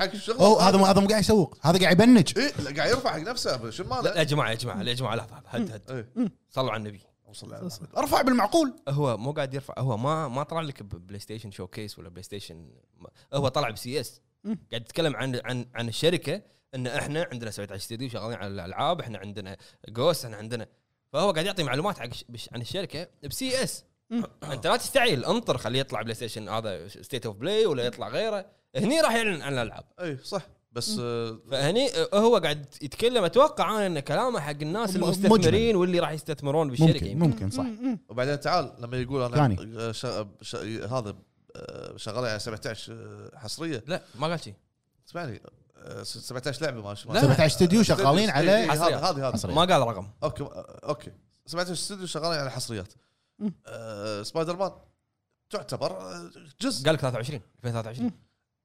حق شغله اوه هذا مو هذا مو قاعد يسوق هذا قاعد يبنج اي قاعد يرفع حق نفسه شو لا ماله؟ يا جماعه يا جماعه لا يا جماعه لحظه لحظة. هد هد إيه. صلوا على النبي اللهم صل على محمد. ارفع بالمعقول هو مو قاعد يرفع هو ما ما طلع لك ببلاي ستيشن شو كيس ولا بلاي ستيشن هو طلع بسي اس مم. قاعد يتكلم عن عن عن الشركه ان احنا عندنا 17 استديو شغالين على الالعاب احنا عندنا جوست احنا عندنا فهو قاعد يعطي معلومات حق ش- بش- عن الشركه بسي اس مم. انت لا تستعجل انطر خليه يطلع بلاي ستيشن هذا ستيت اوف بلاي ولا يطلع غيره هني راح يعلن عن الالعاب اي إيه، صح بس آه، فهني هو قاعد يتكلم اتوقع انا ان كلامه حق الناس مجمل. المستثمرين واللي راح يستثمرون بالشركه ممكن يمكن. ممكن صح مم، مم. وبعدين تعال لما يقول انا ثاني. آه، شا... شا... هذا آه، شغال على 17 آه، حصريه لا ما قال شيء اسمعني آه، 17 لعبه ما شو إيه، لا. 17 استديو شغالين على هذه هذه هذه حصرية. ما قال رقم اوكي آه، اوكي 17 استوديو شغالين على حصريات مم. آه، سبايدر مان تعتبر آه، جزء قال لك 23 2023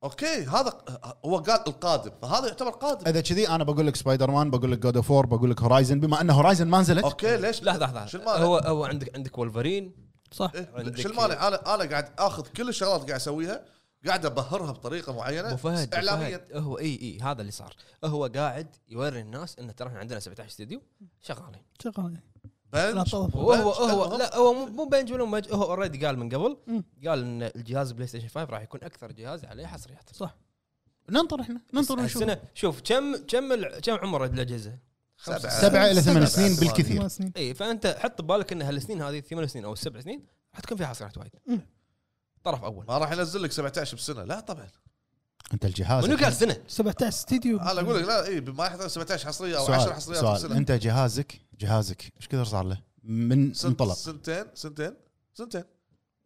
اوكي هذا آه، هو قال القادم فهذا يعتبر قادم اذا كذي انا بقول لك سبايدر مان بقول لك جود اوف 4 بقول لك هورايزن بما ان هورايزن ما نزلت اوكي ليش لا لحظه شو لحظه المانع؟ هو هو عندك عندك ولفرين صح إيه، عندك- شو المانع انا انا قاعد اخذ كل الشغلات قاعد اسويها قاعد ابهرها بطريقه معينه ابو فهد أبو اعلاميا فهد، هو اي اي هذا اللي صار هو قاعد يوري الناس انه ترى احنا عندنا 17 استديو شغالين شغالين إيه. لا بنج طلب. وهو بنج، هو هم- لا هو مو- مو بنج ولا مج هو اوريدي قال من قبل مم. قال ان الجهاز بلاي ستيشن 5 راح يكون اكثر جهاز عليه حصريات صح ننطر احنا ننطر طيب، ونشوف السنه شوف كم كم الع- كم عمر الاجهزه؟ سبعة. خمسة. سبعة إلى ثمان سبعة. سنين سبعة. بالكثير ثمان سنين اي فانت حط ببالك ان هالسنين هذه الثمان سنين او السبع سنين راح تكون فيها حصريات وايد مم. طرف اول ما راح ينزل لك 17 بسنه لا طبعا انت الجهاز منو قال سنه؟ 17 استديو آه، انا اقول لك لا اي ما يحتاج 17 حصريه او 10 سؤال, حصريات سؤال. بسنه انت جهازك جهازك ايش كثر صار له من سنت- انطلق سنتين سنتين سنتين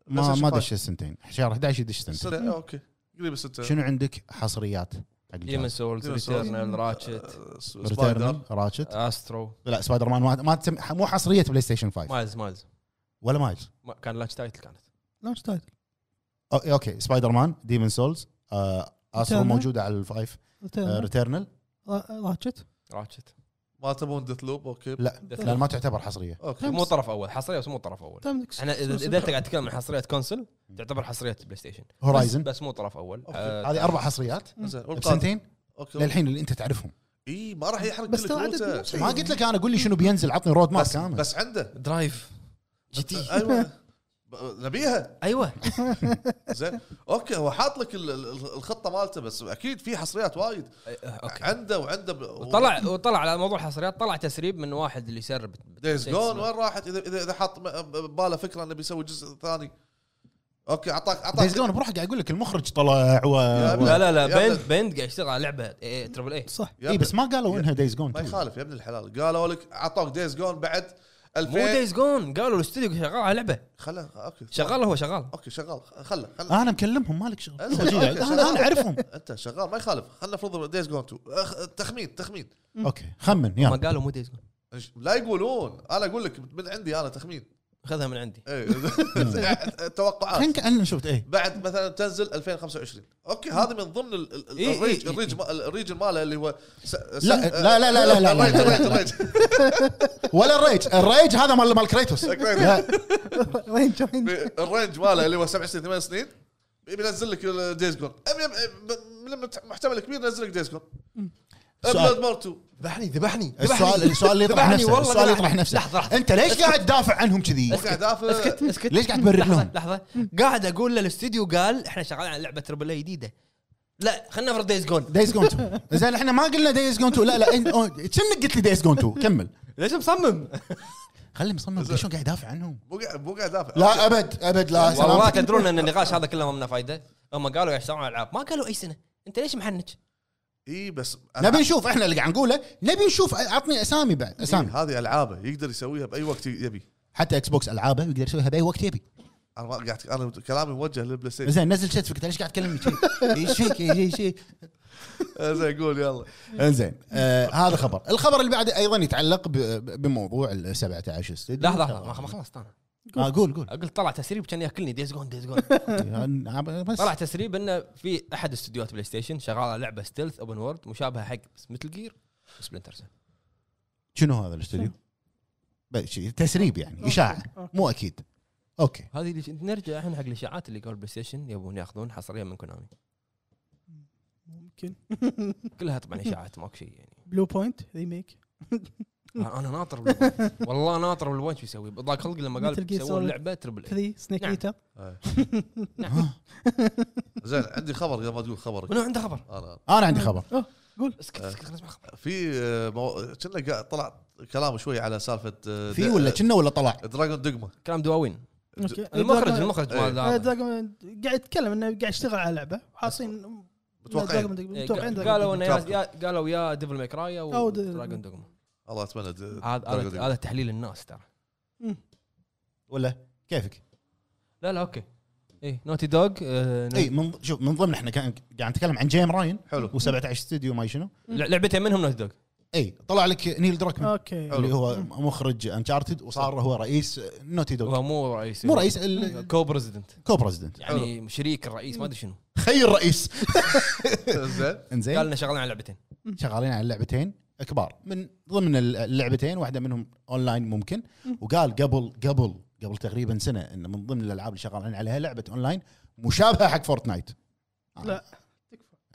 ما PlayStation ما 5. دش السنتين شهر 11 يدش سنتين سنه اوكي قريب السنتين شنو عندك حصريات حق ديمن الجهاز؟ سولز Demon's Souls. ريتيرنال راتشت آه، س- ريتيرنال سبايدر راتشت آه. استرو لا سبايدر مان ما, ما تسمي مو حصريه بلاي ستيشن 5 مايلز مايلز ولا مايلز ما- كان لانش تايتل كانت لانش تايتل أو- إيه، اوكي سبايدر مان ديمن سولز استرو Returnal. موجوده آه، على الفايف آه، ريتيرنال راتشت راتشت ما تبون ديث لوب اوكي لا Death لان ما تعتبر حصريه اوكي مو طرف اول حصريه بس مو طرف اول تملك احنا اذا اذا انت قاعد تتكلم عن حصريات كونسل تعتبر حصريات بلاي ستيشن هورايزن بس مو طرف اول أوكي. آه، هذه اربع حصريات زين والقادم طيب. بسنتين اوكي للحين اللي انت تعرفهم اي ما راح يحرق بس كل ترى عدد كروته. مو بسيط. ما قلت لك انا قول لي شنو بينزل عطني رود ماب طيب. بس كامل بس عنده درايف جي تي ايوه ب- نبيها ايوه زين اوكي هو حاط لك ال- ال- الخطه مالته بس اكيد في حصريات وايد آه، اوكي عنده وعنده ب- وطلع وطلع على موضوع الحصريات طلع تسريب من واحد اللي يسرب دايز جون وين راحت اذا اذا اذا حط م- بباله فكره انه بيسوي جزء ثاني اوكي اعطاك اعطاك دايز جون بروحه قاعد يقول لك المخرج طلع و و- لا لا لا يا بند بند قاعد يشتغل على لعبه إيه، تربل اي صح يا اي ابن- بس ما قالوا انها دايز جون ما يخالف يا ابن الحلال قالوا لك اعطوك دايز جون بعد مو 2000 دايز جون قالوا الاستوديو شغال على لعبه خله اوكي شغال هو شغال اوكي شغال خله خله انا مكلمهم مالك شغل أنزل، أوكي، أوكي، شغال. انا أنا اعرفهم آه. انت شغال ما يخالف خلينا نفرض دايز جون 2 أخ- تخمين تخمين اوكي خمن ما يلا قالوا مو دايز جون لا يقولون انا اقول لك من عندي انا تخمين خذها من عندي إيه. توقعات الحين كاننا شفت ايه بعد مثلا تنزل 2025 اوكي هذا من ضمن ال- ال- إي، إي، الريج إي، الريج ما- الريج ماله اللي هو س- س- إيه، لا، لا، لا، لا، لا، لا، الريج- لا، لا، الريج- لا. الريج. ولا الريج الريج هذا مال مال كريتوس لا وين جايين الرينج ماله اللي هو سبع سنين ثمان سنين بينزل لك دايز جون محتمل كبير ينزل لك دايز جون سؤال. بلاد مور 2 ذبحني ذبحني السؤال السؤال اللي يطرح ذبحني نفسه والله السؤال اللي ذبحني. يطرح نفسه لحظه لحظه انت ليش قاعد تدافع عنهم كذي؟ قاعد ادافع اسكت اسكت ليش قاعد تبرر لحظه لهم؟ لحظه قاعد اقول للاستديو قال احنا شغالين على لعبه تربل جديده لا خلينا نفرض دايز جون دايز جون 2 زين احنا ما قلنا دايز جون 2 لا لا انت أو- كأنك قلت لي دايز جون 2 كمل ليش مصمم؟ خلي مصمم شلون قاعد يدافع عنهم مو قاعد مو قاعد ادافع لا ابد ابد لا والله سلامتك تدرون ان النقاش هذا كله ما منه فايده هم قالوا قاعد يشتغلون على العاب ما قالوا اي سنه انت ليش محنج؟ اي بس نبي نشوف احنا اللي قاعد نقوله نبي نشوف عطني اسامي بعد اسامي إيه، هذه العابه يقدر يسويها باي وقت يبي حتى اكس بوكس العابه يقدر يسويها باي وقت يبي انا ما قاعد انا كلامي موجه للبلاي ستيشن زين نزل شت فيك ليش قاعد تكلمني شي؟ ايش فيك ايش فيك زين قول يلا انزين آه هذا خبر الخبر اللي بعده ايضا يتعلق ب- ب- بموضوع ال 17 استوديو لحظه لحظه ما خلصت انا آه قول قول اقول طلع تسريب كان ياكلني دايز جون دايز جون آه، بس طلع تسريب انه في احد استديوهات بلاي ستيشن شغال على لعبه ستيلث اوبن وورد مشابهه حق مثل جير سبلنتر شنو هذا الاستوديو؟ بس شي- تسريب يعني اشاعه آه، مو اكيد اوكي هذه اللي نرجع احنا حق الاشاعات اللي قالوا بلاي ستيشن يبون ياخذون حصريا من كونامي ممكن كلها طبعا اشاعات ماكو شيء يعني بلو بوينت ريميك انا أنا ناطر بالوين. والله ناطر بالوين شو يسوي ضاق خلقي لما قال Metal Gear يسوون Solid. لعبه تربل إيه. 3 سنيك نعم. ايتر آه. ها. زين عندي خبر قبل ما تقول خبرك منو عنده خبر؟ انا انا عندي خبر اسكت اسكت خلنا نسمع خبر في آه، مو- كنا قاعد- طلع كلام شوي على سالفه آه، في ولا كنا ولا طلع؟ دراجون دقمه كلام دواوين إيه، اوكي المخرج دراجون- المخرج إيه. مال آه، هذا. دراجون- قاعد يتكلم انه قاعد يشتغل على لعبه وحاصين متوقعين دراجون- إيه، متوقعين دراجون. قالوا انه يا- Capcom. يا- قالوا يا ديفل ماي كراي او أو د- دراجون دوغما الله اتمنى د- هذا Dragon هذا- Dogma. هذا تحليل الناس ترى مم. ولا كيفك؟ لا إيه، لا اوكي اي نوتي دوغ آه، نعم. اي من ض- شوف من ضمن احنا كان قاعد نتكلم عن جيم راين حلو و17 استوديو ما شنو لعبتين منهم نوتي دوغ اي طلع لك نيل دراكمان اوكي حلو. اللي هو مخرج انشارتد وصار هو رئيس نوتي دوغ هو مو رئيس مو رئيس ال- كو بريزدنت كو بريزدنت يعني شريك الرئيس ما ادري شنو خير رئيس زين قال انزين لنا شغالين على لعبتين شغالين على لعبتين كبار من ضمن ال- اللعبتين واحده منهم اونلاين ممكن وقال قبل قبل قبل تقريبا سنه ان من ضمن الالعاب اللي شغالين عليها لعبه اونلاين مشابهه حق فورتنايت آه. لا.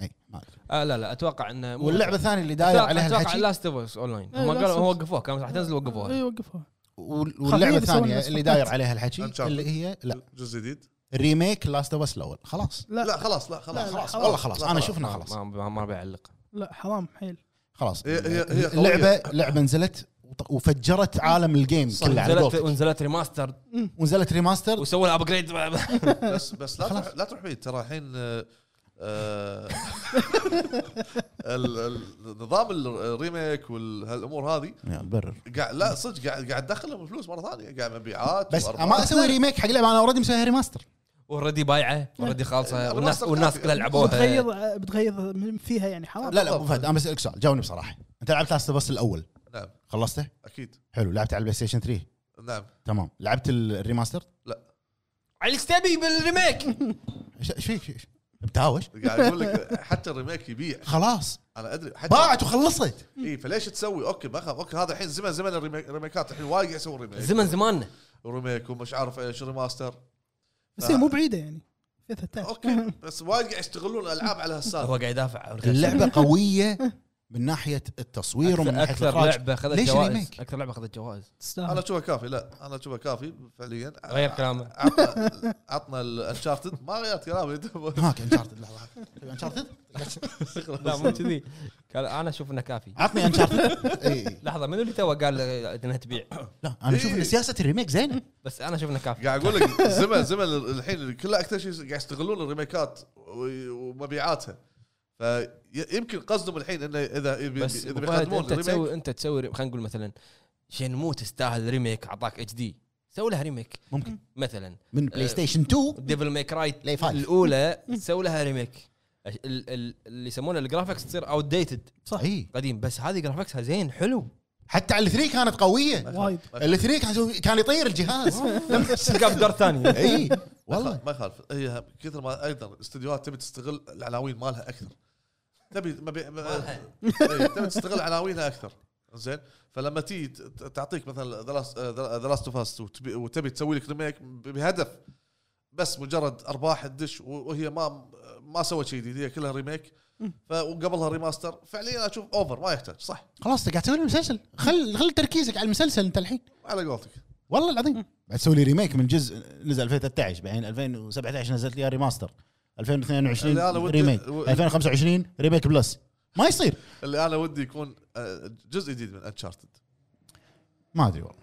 اي ما أدري. آه لا لا اتوقع انه مو- واللعبه الثانيه اللي داير اتوقع عليها اتوقع الحكي إيه، لاست اوف اس اون لاين إيه، هم Last of قالوا Us. هم وقفوها كانت راح تنزل وقفوها اي إيه، وقفوها وال- خفيف واللعبه يسوون الثانيه نفس اللي Fortnite. داير عليها الحكي Uncharted. اللي هي لا جزء جديد ريميك لاست اوف اس الاول خلاص لا لا لا, خلاص لا خلاص لا، لا، خلاص خلاص. والله خلاص لا، انا خلاص. شفنا ما- إيه، خلاص ما ما ما بعلق حرام حيل خلاص هي- هي- هي قوية. اللعبه لعبه نزلت وط- وفجرت عالم الجيم صح. كله على نزلت قولتك ونزلت ريماستر ونزلت ريماستر وسووا لها ابجريد بس بس لا خلاص. تروح لا تروح بعيد ترى الحين آه، آه، ال- ال- نظام الريميك وهالامور هذه يا برر قاعد لا صدق قاعد قاعد تدخلهم فلوس مره ثانيه قاعد مبيعات بس وأرباح. ما اسوي ريميك حق لعبه انا اوريدي مسويها ريماستر اوريدي بايعه اوريدي إيه، خالصه والناس الريماستر والناس كافي. كلها لعبوها بتغير بتغير من فيها يعني حرام لا لا ابو فهد انا بسالك سؤال جاوبني بصراحه انت لعبت لاست بس الاول نعم خلصته؟ اكيد حلو لعبت على البلاي ستيشن 3 نعم تمام لعبت الريماستر؟ علي ستبي بالريميك ايش إيش فيك؟ إيش- بتهاوش؟ قاعد اقول لك حتى الريميك يبيع خلاص انا ادري حتى باعت وخلصت اي إيه، فليش تسوي اوكي ما خاف اوكي هذا الحين زمن زمن الريميك- الريميكات الحين وايد قاعد يسوون ريميك زمن زماننا ريميك ومش عارف ايش ريماستر بس هي مو بعيده يعني في ثلاثة. اوكي بس وايد قاعد يشتغلون الالعاب على هو هالسالفه قاعد يدافع اللعبه قويه من ناحيه التصوير ومن اكثر ناحيه أكثر الإخراج. لعبه اخذت ليش جوائز ريميك؟ اكثر لعبه اخذت جوائز انا تستاهل اشوفها كافي لا انا اشوفها كافي فعليا غير كلامه عطنا عطنا الانشارتد ما غيرت كلامي أنت- هاك انشارتد لحظه هاك. انشارتد لا مو كذي قال انا اشوف انه كافي عطني انشارتد اي إي. لحظه منو اللي تو قال انها تبيع لا انا اشوف إيه. ان سياسه الريميك زينه بس انا اشوف انه كافي قاعد اقول لك زمن زمن الحين كله اكثر شيء قاعد يستغلون الريميكات و- ومبيعاتها فيمكن قصدهم الحين انه اذا اذا بس إذا أبو فهد، بيقدمون انت الريميك تسوي انت تسوي ريم- خلينا نقول مثلا شنمو تستاهل ريميك اعطاك اتش دي سوي لها ريميك ممكن مثلا من بلاي ستيشن 2 ديفل ميك رايت ليه فايف. الاولى سوي لها ريميك ال- ال- اللي يسمونه الجرافكس تصير اوت ديتد صح اي قديم بس هذه جرافكسها زين حلو حتى على الثري كانت قويه وايد الثري كان يسوي- كان يطير الجهاز تلقاه في دار ثانيه اي والله والله ما يخالف هي كثر ما ايضا استديوهات تبي تستغل العناوين مالها اكثر تبي مبي... م- إيه، تبي تستغل عناوينها اكثر زين فلما تيجي ت- ت- تعطيك مثلا ذا لاست اوف اس وتبي تسوي لك ريميك ب- بهدف بس مجرد ارباح الدش و- وهي ما ما سوت شيء جديد هي كلها ريميك فقبلها ريماستر فعليا اشوف اوفر ما يحتاج صح خلاص انت قاعد تسوي لي مسلسل خل خل تركيزك على المسلسل انت الحين على قولتك والله العظيم بعد تسوي لي ريميك من جزء نزل 2013 بعدين 2017 نزلت لي ريماستر 2022 اللي أنا ودي- ريميك و- 2025 ريميك بلس ما يصير اللي انا ودي يكون آه، جزء جديد من انشارتد ما ادري والله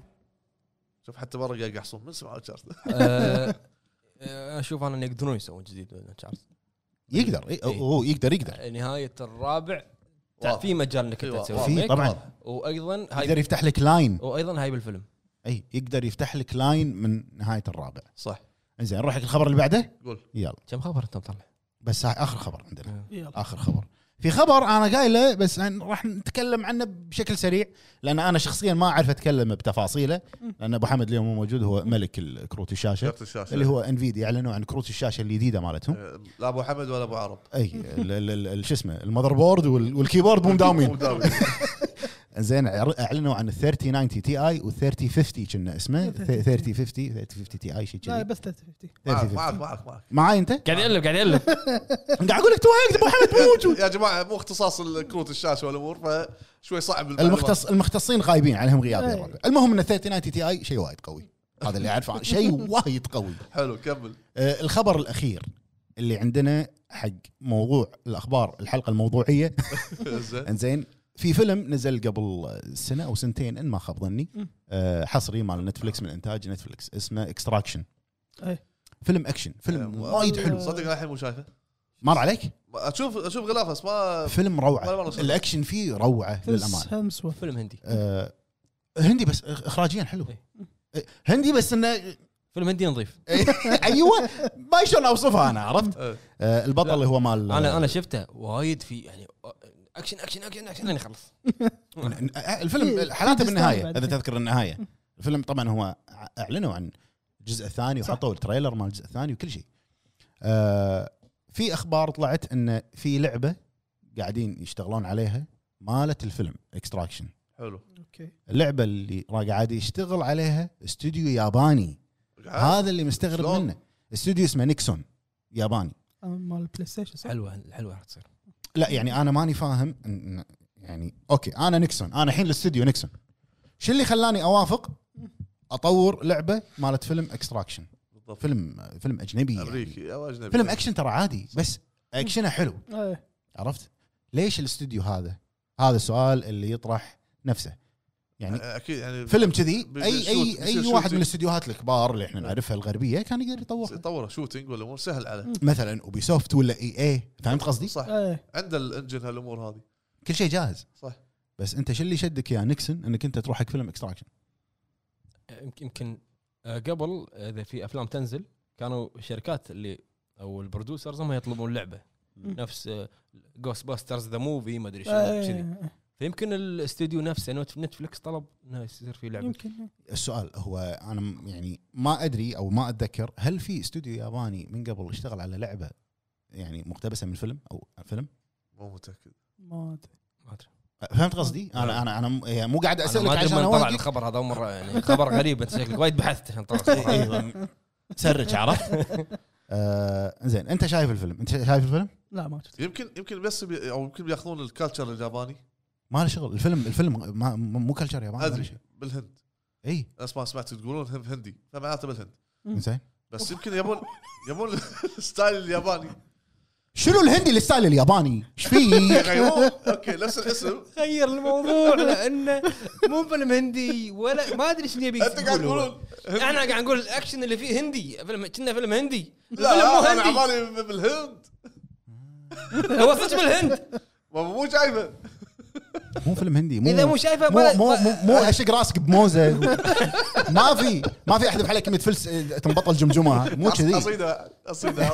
شوف حتى برا قاعد يحصون من سمع انشارتد آه، آه، اشوف انا ان يقدرون يسوون جديد من تشارلز يقدر ي- هو يقدر يقدر نهايه الرابع تع- واضح. في مجال انك إي انت أيوة، واضح. تسوي في ريميك. طبعا وايضا يقدر هاي يفتح لك لاين وايضا هاي بالفيلم اي يقدر يفتح لك لاين من نهايه الرابع صح زين نروح حق الخبر اللي بعده قول. يلا كم خبر انت مطلع؟ بس هاي اخر خبر عندنا آه، يلا اخر خبر في خبر انا قايله بس عن- راح نتكلم عنه بشكل سريع لان انا شخصيا ما اعرف اتكلم بتفاصيله لان ابو حمد اليوم مو موجود هو ملك ال- كروت الشاشه شفت الشاشه اللي هو انفيديا اعلنوا عن كروت الشاشه الجديده مالتهم آه، لا ابو حمد ولا ابو عرب اي ال- ال- ال- ال- شو اسمه المذر بورد وال- والكيبورد مو مداومين مداومين. زين عر- اعلنوا عن ال 3090 تي اي وال 3050 كنا اسمه 3050 3050 تي اي شيء لا كذي بس 350 معك 3050. معك معك معك معاي انت؟ قاعد يقلب قاعد يقلب قاعد اقول لك توهقت ابو حمد مو موجود يا جماعه مو اختصاص الكروت الشاشه والامور فشوي صعب المعلومات. المختص المختصين غايبين عليهم غياب يا إيه. ربع. المهم ان 3090 تي اي شيء وايد قوي هذا اللي اعرفه عنه. شيء وايد قوي حلو كمل آه، الخبر الاخير اللي عندنا حق موضوع الاخبار الحلقه الموضوعيه زين انزين في فيلم نزل قبل سنه او سنتين ان ما خاب ظني آه، حصري مال نتفلكس من انتاج نتفلكس اسمه اكستراكشن إيه. فيلم اكشن فيلم آه، وايد حلو صدق انا الحين مو شايفه مر عليك اشوف اشوف غلاف بس ما فيلم ولا مرة روعه صدق. الاكشن فيه روعه للامانه همس وف- فيلم هندي آه، هندي بس إخ- اخراجيا حلو إيه. آه، هندي بس انه فيلم هندي نظيف ايوه ما شلون اوصفها انا عرفت إيه. آه، البطل لا. اللي هو مال انا انا شفته وايد في يعني اكشن اكشن اكشن اكشن لين يخلص ن- آه، الفيلم في- حالاته في بالنهايه ديستانس اذا بعد. تذكر النهايه الفيلم طبعا هو ع- اعلنوا عن الجزء الثاني صح. وحطوا التريلر مال الجزء الثاني وكل شيء آه، في اخبار طلعت ان في لعبه قاعدين يشتغلون عليها مالت الفيلم اكستراكشن حلو اوكي اللعبه اللي را- قاعد يشتغل عليها استوديو ياباني هذا اللي مستغرب شلون؟ منه استوديو اسمه نيكسون ياباني آه، مال البلاي ستيشن صح؟ حلوه حلوه راح تصير لا يعني انا ماني فاهم إن- يعني اوكي انا نيكسون انا الحين الاستوديو نيكسون شو اللي خلاني اوافق اطور لعبه مالت فيلم اكستراكشن بالضبط فيلم فيلم اجنبي يعني. امريكي او اجنبي فيلم اكشن ترى عادي بس اكشنه حلو إيه. عرفت ليش الاستوديو هذا هذا السؤال اللي يطرح نفسه يعني آه، اكيد يعني فيلم كذي بي- اي بيشوت- اي اي بيصير واحد من shooting. الاستديوهات الكبار اللي احنا نعرفها الغربيه كان يقدر يطور طوره شوتنج والامور سهل عليه مثلا اوبي سوفت ولا اي اي فهمت قصدي؟ صح إيه. عنده الانجن هالامور هذه كل شيء جاهز صح. بس انت شو اللي شدك يا نيكسون انك انت تروح حق فيلم اكستراكشن يمكن يمكن آه، قبل اذا في افلام تنزل كانوا الشركات اللي او البرودوسرز هم يطلبون لعبه مم. نفس آه، جوست باسترز ذا موفي ما ادري شنو كذي إيه. فيمكن الاستوديو نفسه نت- نتفلكس طلب انه يصير في لعبه يمكن السؤال هو انا م- يعني ما ادري او ما اتذكر هل في استوديو ياباني من قبل اشتغل على لعبه يعني مقتبسه من فيلم او فيلم مو متاكد ما ادري ما ادري فهمت قصدي انا انا انا م- يعني مو قاعد انا ما اسالك ادري عشان من طلع اوافقك الخبر هذا اول مره يعني خبر غريب انت شكلك وايد بحثت عشان طلع الخبر. أيوة. سرج عرفت آه زين انت شايف الفيلم انت شايف الفيلم لا ما شفت يمكن يمكن بس بي او يمكن بياخذون الكالتشر الياباني ما له شغل الفيلم الفيلم ما مو كلتشر ياباني ولا شيء. إيه، ادري بالهند اي ناس ما سمعت تقولون هم- هندي فمعناته بالهند زين بس يمكن يبون يبون الستايل الياباني شنو الهندي الستايل الياباني ايش فيه يغيرون اوكي نفس الاسم غير الموضوع لانه مو فيلم هندي ولا ما ادري شنو يبي انت قاعد يقولون. تقولون هندي. احنا قاعد نقول الاكشن اللي فيه هندي فيلم كنا فيلم هندي الفيلم مو لا انا هندي عبالي بالهند هو صدق بالهند ما مو شايفه مو فيلم هندي اذا مو شايفه مو ولا- مو مو, مو اشق راسك بموزه ما في ما في احذف عليك كميه فلس إيه، تنبطل جمجمه مو كذي اصيده اصيده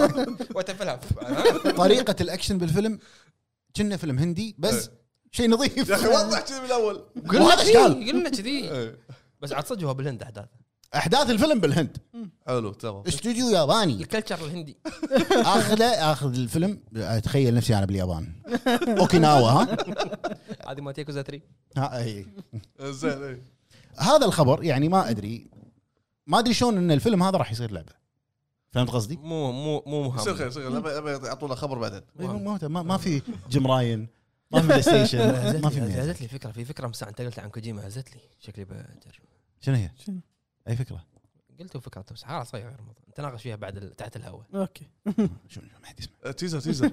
وتفلها طريقه الاكشن بالفيلم كنا فيلم هندي بس شيء نظيف يا اخي وضح كذي من الاول وهذا اشكال قلنا كذي إيه. بس عاد صدق هو بالهند احداثه احداث الفيلم بالهند حلو تمام استوديو ياباني الكلتشر الهندي اخذه اخذ الفيلم اتخيل نفسي انا باليابان اوكيناوا ها؟ هذه ما تيكوزا 3 ها أي. زين إيه. هذا الخبر يعني ما ادري ما ادري شلون ان الفيلم هذا راح يصير لعبه فهمت قصدي؟ مو مو مو يصير مهم خير يصير خير. لما لما يعطونا خبر بعدين إيه، مو- مو- ما ما في جيم راين ما في بلاي ستيشن ما في هزت مية. لي فكره في فكره مساء انت قلت عن كوجيما هزت لي شكلي بجرب شنو هي؟ شنو؟ اي فكره؟ قلت فكره بس خلاص صحيح غير موضوع. نتناقش فيها بعد ال- تحت الهواء اوكي شنو ما حد يسمع أه، تيزر تيزر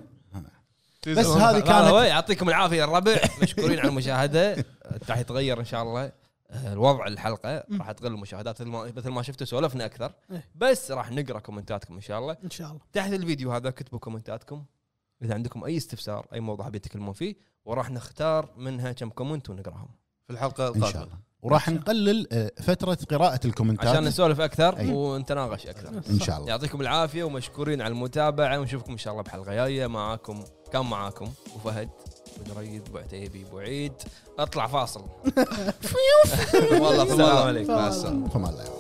تيزر. بس هذه لا، لا، كانت- هو يعطيكم العافيه الربع مشكورين على المشاهده راح يتغير ان شاء الله آه، الوضع الحلقه مم. راح تقل المشاهدات مثل ما- مثل ما شفتوا سولفنا اكثر إيه. بس راح نقرا كومنتاتكم ان شاء الله ان شاء الله تحت الفيديو هذا كتبوا كومنتاتكم اذا عندكم اي استفسار اي موضوع حابين تتكلمون فيه وراح نختار منها كم كومنت ونقراهم في الحلقه ان شاء القادمه الله وراح نقلل آه، فتره قراءه عشان الكومنتات نسولف اكثر أي. ونتناقش اكثر ان شاء الله يعطيكم العافيه ومشكورين على المتابعه ونشوفكم ان شاء الله بحلقه جايه معاكم كان معاكم ابو فهد ابو دريد ابو عتيبي ابو عيد اطلع فاصل والله السلام والله عليكم مع السلامه فما الله يعافيك.